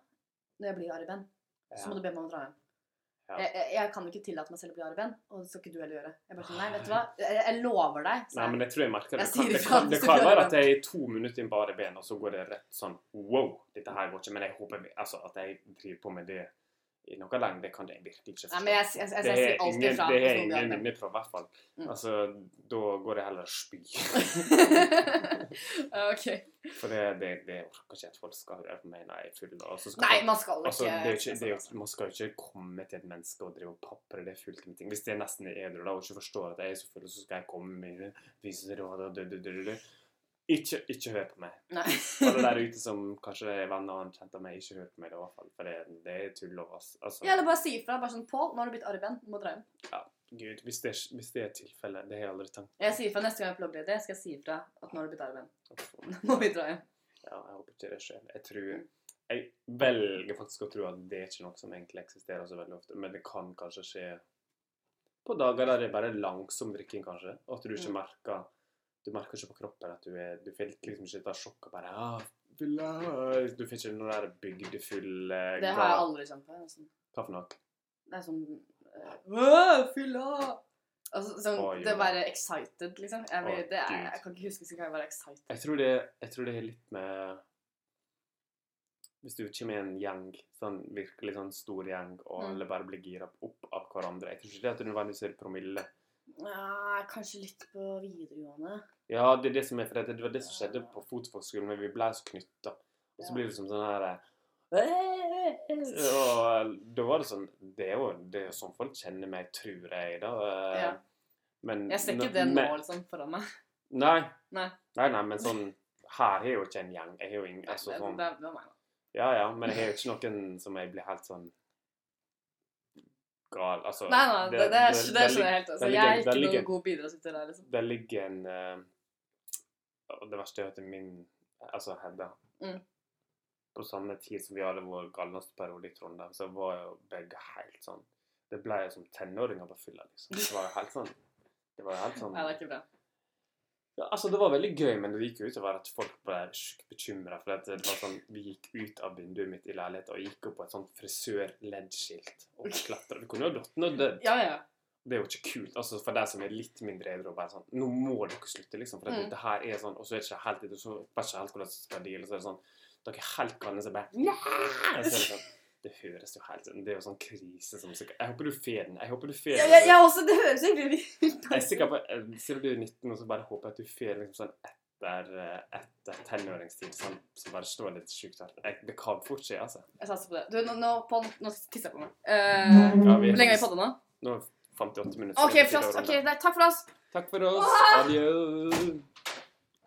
[SPEAKER 2] når jeg blir arg i ben. Så må du be meg om å dra hjem.
[SPEAKER 1] Ja.
[SPEAKER 2] Jeg, jeg, jeg kan ikke tillate meg selv å bli arg i ben, og det skal ikke du heller gjøre. Jeg bare sånn, nei, vet du hva? Jeg, jeg lover deg.
[SPEAKER 1] Nei, men jeg tror jeg merker det. Det
[SPEAKER 2] Jeg
[SPEAKER 1] kan,
[SPEAKER 2] sier
[SPEAKER 1] det
[SPEAKER 2] ifra
[SPEAKER 1] kan, det
[SPEAKER 2] hvis du
[SPEAKER 1] kan
[SPEAKER 2] gjør
[SPEAKER 1] være
[SPEAKER 2] det.
[SPEAKER 1] at jeg er to minutter inn på bare ben, og så går det rett sånn wow, dette her går ikke. Men jeg håper vi- altså, at jeg driver på med det i noe lenge. Det kan jeg virkelig ikke forstå.
[SPEAKER 2] Nei, men jeg, jeg, jeg, jeg,
[SPEAKER 1] det
[SPEAKER 2] sier
[SPEAKER 1] er
[SPEAKER 2] alltid
[SPEAKER 1] ingen,
[SPEAKER 2] ifra.
[SPEAKER 1] det
[SPEAKER 2] hvis
[SPEAKER 1] er
[SPEAKER 2] noen blir arg i
[SPEAKER 1] ingen
[SPEAKER 2] ben.
[SPEAKER 1] innenfra, i hvert fall.
[SPEAKER 2] Mm.
[SPEAKER 1] Altså, da går det heller spy.
[SPEAKER 2] ok.
[SPEAKER 1] For det, det, det orker ikke at folk skal høre på meg når jeg er full. Og så skal
[SPEAKER 2] Nei,
[SPEAKER 1] folk-
[SPEAKER 2] man skal ikke
[SPEAKER 1] altså, det er jo ikke, det er
[SPEAKER 2] sånn.
[SPEAKER 1] jo, man skal jo ikke komme til et menneske og drive og papre det fullt med ting. Hvis jeg nesten er edru da, og ikke forstår at jeg er så full, så skal jeg komme med vise råd og dødødødødø. Ikke, ikke hør på meg.
[SPEAKER 2] Nei.
[SPEAKER 1] Alle der ute som kanskje er venner og kjente av meg, ikke hør på meg i hvert fall. For det, det er tull og vass. Altså,
[SPEAKER 2] Ja, eller bare si ifra. Bare sånn Pål, nå har du blitt arg i ben. Du må dra hjem.
[SPEAKER 1] Gud, hvis det, er- hvis det er tilfelle, det har jeg aldri tenkt
[SPEAKER 2] Jeg sier ifra neste gang jeg er på loggleder, skal jeg si ifra at nå har du blitt arg i ben.
[SPEAKER 1] på.
[SPEAKER 2] Nå må vi dra hjem.
[SPEAKER 1] Ja, jeg håper ikke det skjer. Jeg tror
[SPEAKER 2] Mm.
[SPEAKER 1] Jeg velger faktisk å tro at det er ikke noe som egentlig eksisterer så veldig ofte, men det kan kanskje skje på dager der det er bare langsom drikking, kanskje, og at du ikke
[SPEAKER 2] Mm.
[SPEAKER 1] merker Du merker ikke på kroppen at du er Du får liksom ikke dette sjokket bare ah, fylla», Du får ikke noe der bygdefull eh,
[SPEAKER 2] Det har jeg
[SPEAKER 1] gal-
[SPEAKER 2] aldri kjent på. jeg, Nesten.
[SPEAKER 1] Hva for noe?
[SPEAKER 2] Det er sånn eh, «Åh, Fylla! Altså, sånn,
[SPEAKER 1] Å, jo.
[SPEAKER 2] det å være excited, liksom. Jeg, blir-
[SPEAKER 1] Å,
[SPEAKER 2] det er,
[SPEAKER 1] Gud.
[SPEAKER 2] jeg kan ikke huske sist gang jeg var excited.
[SPEAKER 1] Jeg tror det, jeg tror det er litt med Hvis du kommer i en gjeng, sånn virkelig sånn stor gjeng, og
[SPEAKER 2] Mm.
[SPEAKER 1] alle bare blir gira opp av hverandre Jeg tror ikke det at du nødvendigvis er promille.
[SPEAKER 2] Nei, Ah, kanskje litt på videregående.
[SPEAKER 1] Ja, det er det som er for det, det var det som skjedde på fotfolkskolen, men vi ble så knytta. Og så
[SPEAKER 2] Ja.
[SPEAKER 1] blir det som sånn her eh, Og da var det sånn Det er jo, det er jo sånn folk kjenner meg, tror jeg, da. eh,
[SPEAKER 2] Ja.
[SPEAKER 1] Men
[SPEAKER 2] Jeg ser ikke
[SPEAKER 1] når-
[SPEAKER 2] det nå
[SPEAKER 1] men-
[SPEAKER 2] liksom foran meg.
[SPEAKER 1] Nei.
[SPEAKER 2] Nei.
[SPEAKER 1] nei. Nei, men sånn Her har jeg jo ikke en gjeng. Jeg har jo ingen
[SPEAKER 2] Nei,
[SPEAKER 1] altså,
[SPEAKER 2] det,
[SPEAKER 1] sånn,
[SPEAKER 2] det, det var meg nå.
[SPEAKER 1] Ja ja, men jeg har jo ikke noen som jeg blir helt sånn gal Altså
[SPEAKER 2] Nei, nei, det, det, det, det skjønner jeg helt. Altså,
[SPEAKER 1] det ligger-
[SPEAKER 2] jeg er ikke
[SPEAKER 1] det ligger-
[SPEAKER 2] noen god bidragsyter der, liksom.
[SPEAKER 1] Det ligger en eh, Og det verste er at min Altså Hedda
[SPEAKER 2] Mm.
[SPEAKER 1] På samme tid som vi hadde vår galneste periode i Trondheim, så var jo begge helt sånn Det ble jo som tenåringer på fylla, liksom. Det var jo helt sånn Det var jo helt sånn
[SPEAKER 2] Nei, det er ikke bra.
[SPEAKER 1] ja, altså, det var veldig gøy, men det gikk jo utover at folk ble sjukt bekymra. For at det var sånn, vi gikk ut av vinduet mitt i leiligheten og gikk opp på et sånt frisør-leddskilt og klatra. Vi kunne jo datt ned og dødd.
[SPEAKER 2] Ja, ja.
[SPEAKER 1] Det er jo ikke kult. altså For deg som er litt mindre edru og bare sånn Nå må dere slutte, liksom. For at
[SPEAKER 2] Mm.
[SPEAKER 1] dette her er sånn Og så er det ikke helt det, og så vet ikke helt hvordan det skal deale. Så er det sånn Dere er helt galne, så bare «Nei!» så er det, sånn, det høres jo helt sånn Det er jo sånn krise som sikkert Jeg håper du får den. Jeg håper du får
[SPEAKER 2] Jeg,
[SPEAKER 1] den.
[SPEAKER 2] jeg, jeg også, det høres egentlig ut
[SPEAKER 1] Jeg er sikker på eh, Selv om du er 19, og så bare håper jeg at du får liksom sånn etter, eh, etter tenåringstid sånn, som bare står litt sjukt hardt. Jeg- Det kan fort skje, altså.
[SPEAKER 2] Jeg satser på det. Du, nå, nå, Pål, nå tisser jeg på meg. Eh,
[SPEAKER 1] Ja, vi-
[SPEAKER 2] Hvor lenge har vi podda nå?
[SPEAKER 1] Nå er 58 minutter. så
[SPEAKER 2] OK,
[SPEAKER 1] det er på tide å
[SPEAKER 2] flott.
[SPEAKER 1] runde.
[SPEAKER 2] ok, det er- Takk for oss.
[SPEAKER 1] Takk for oss. Adjø.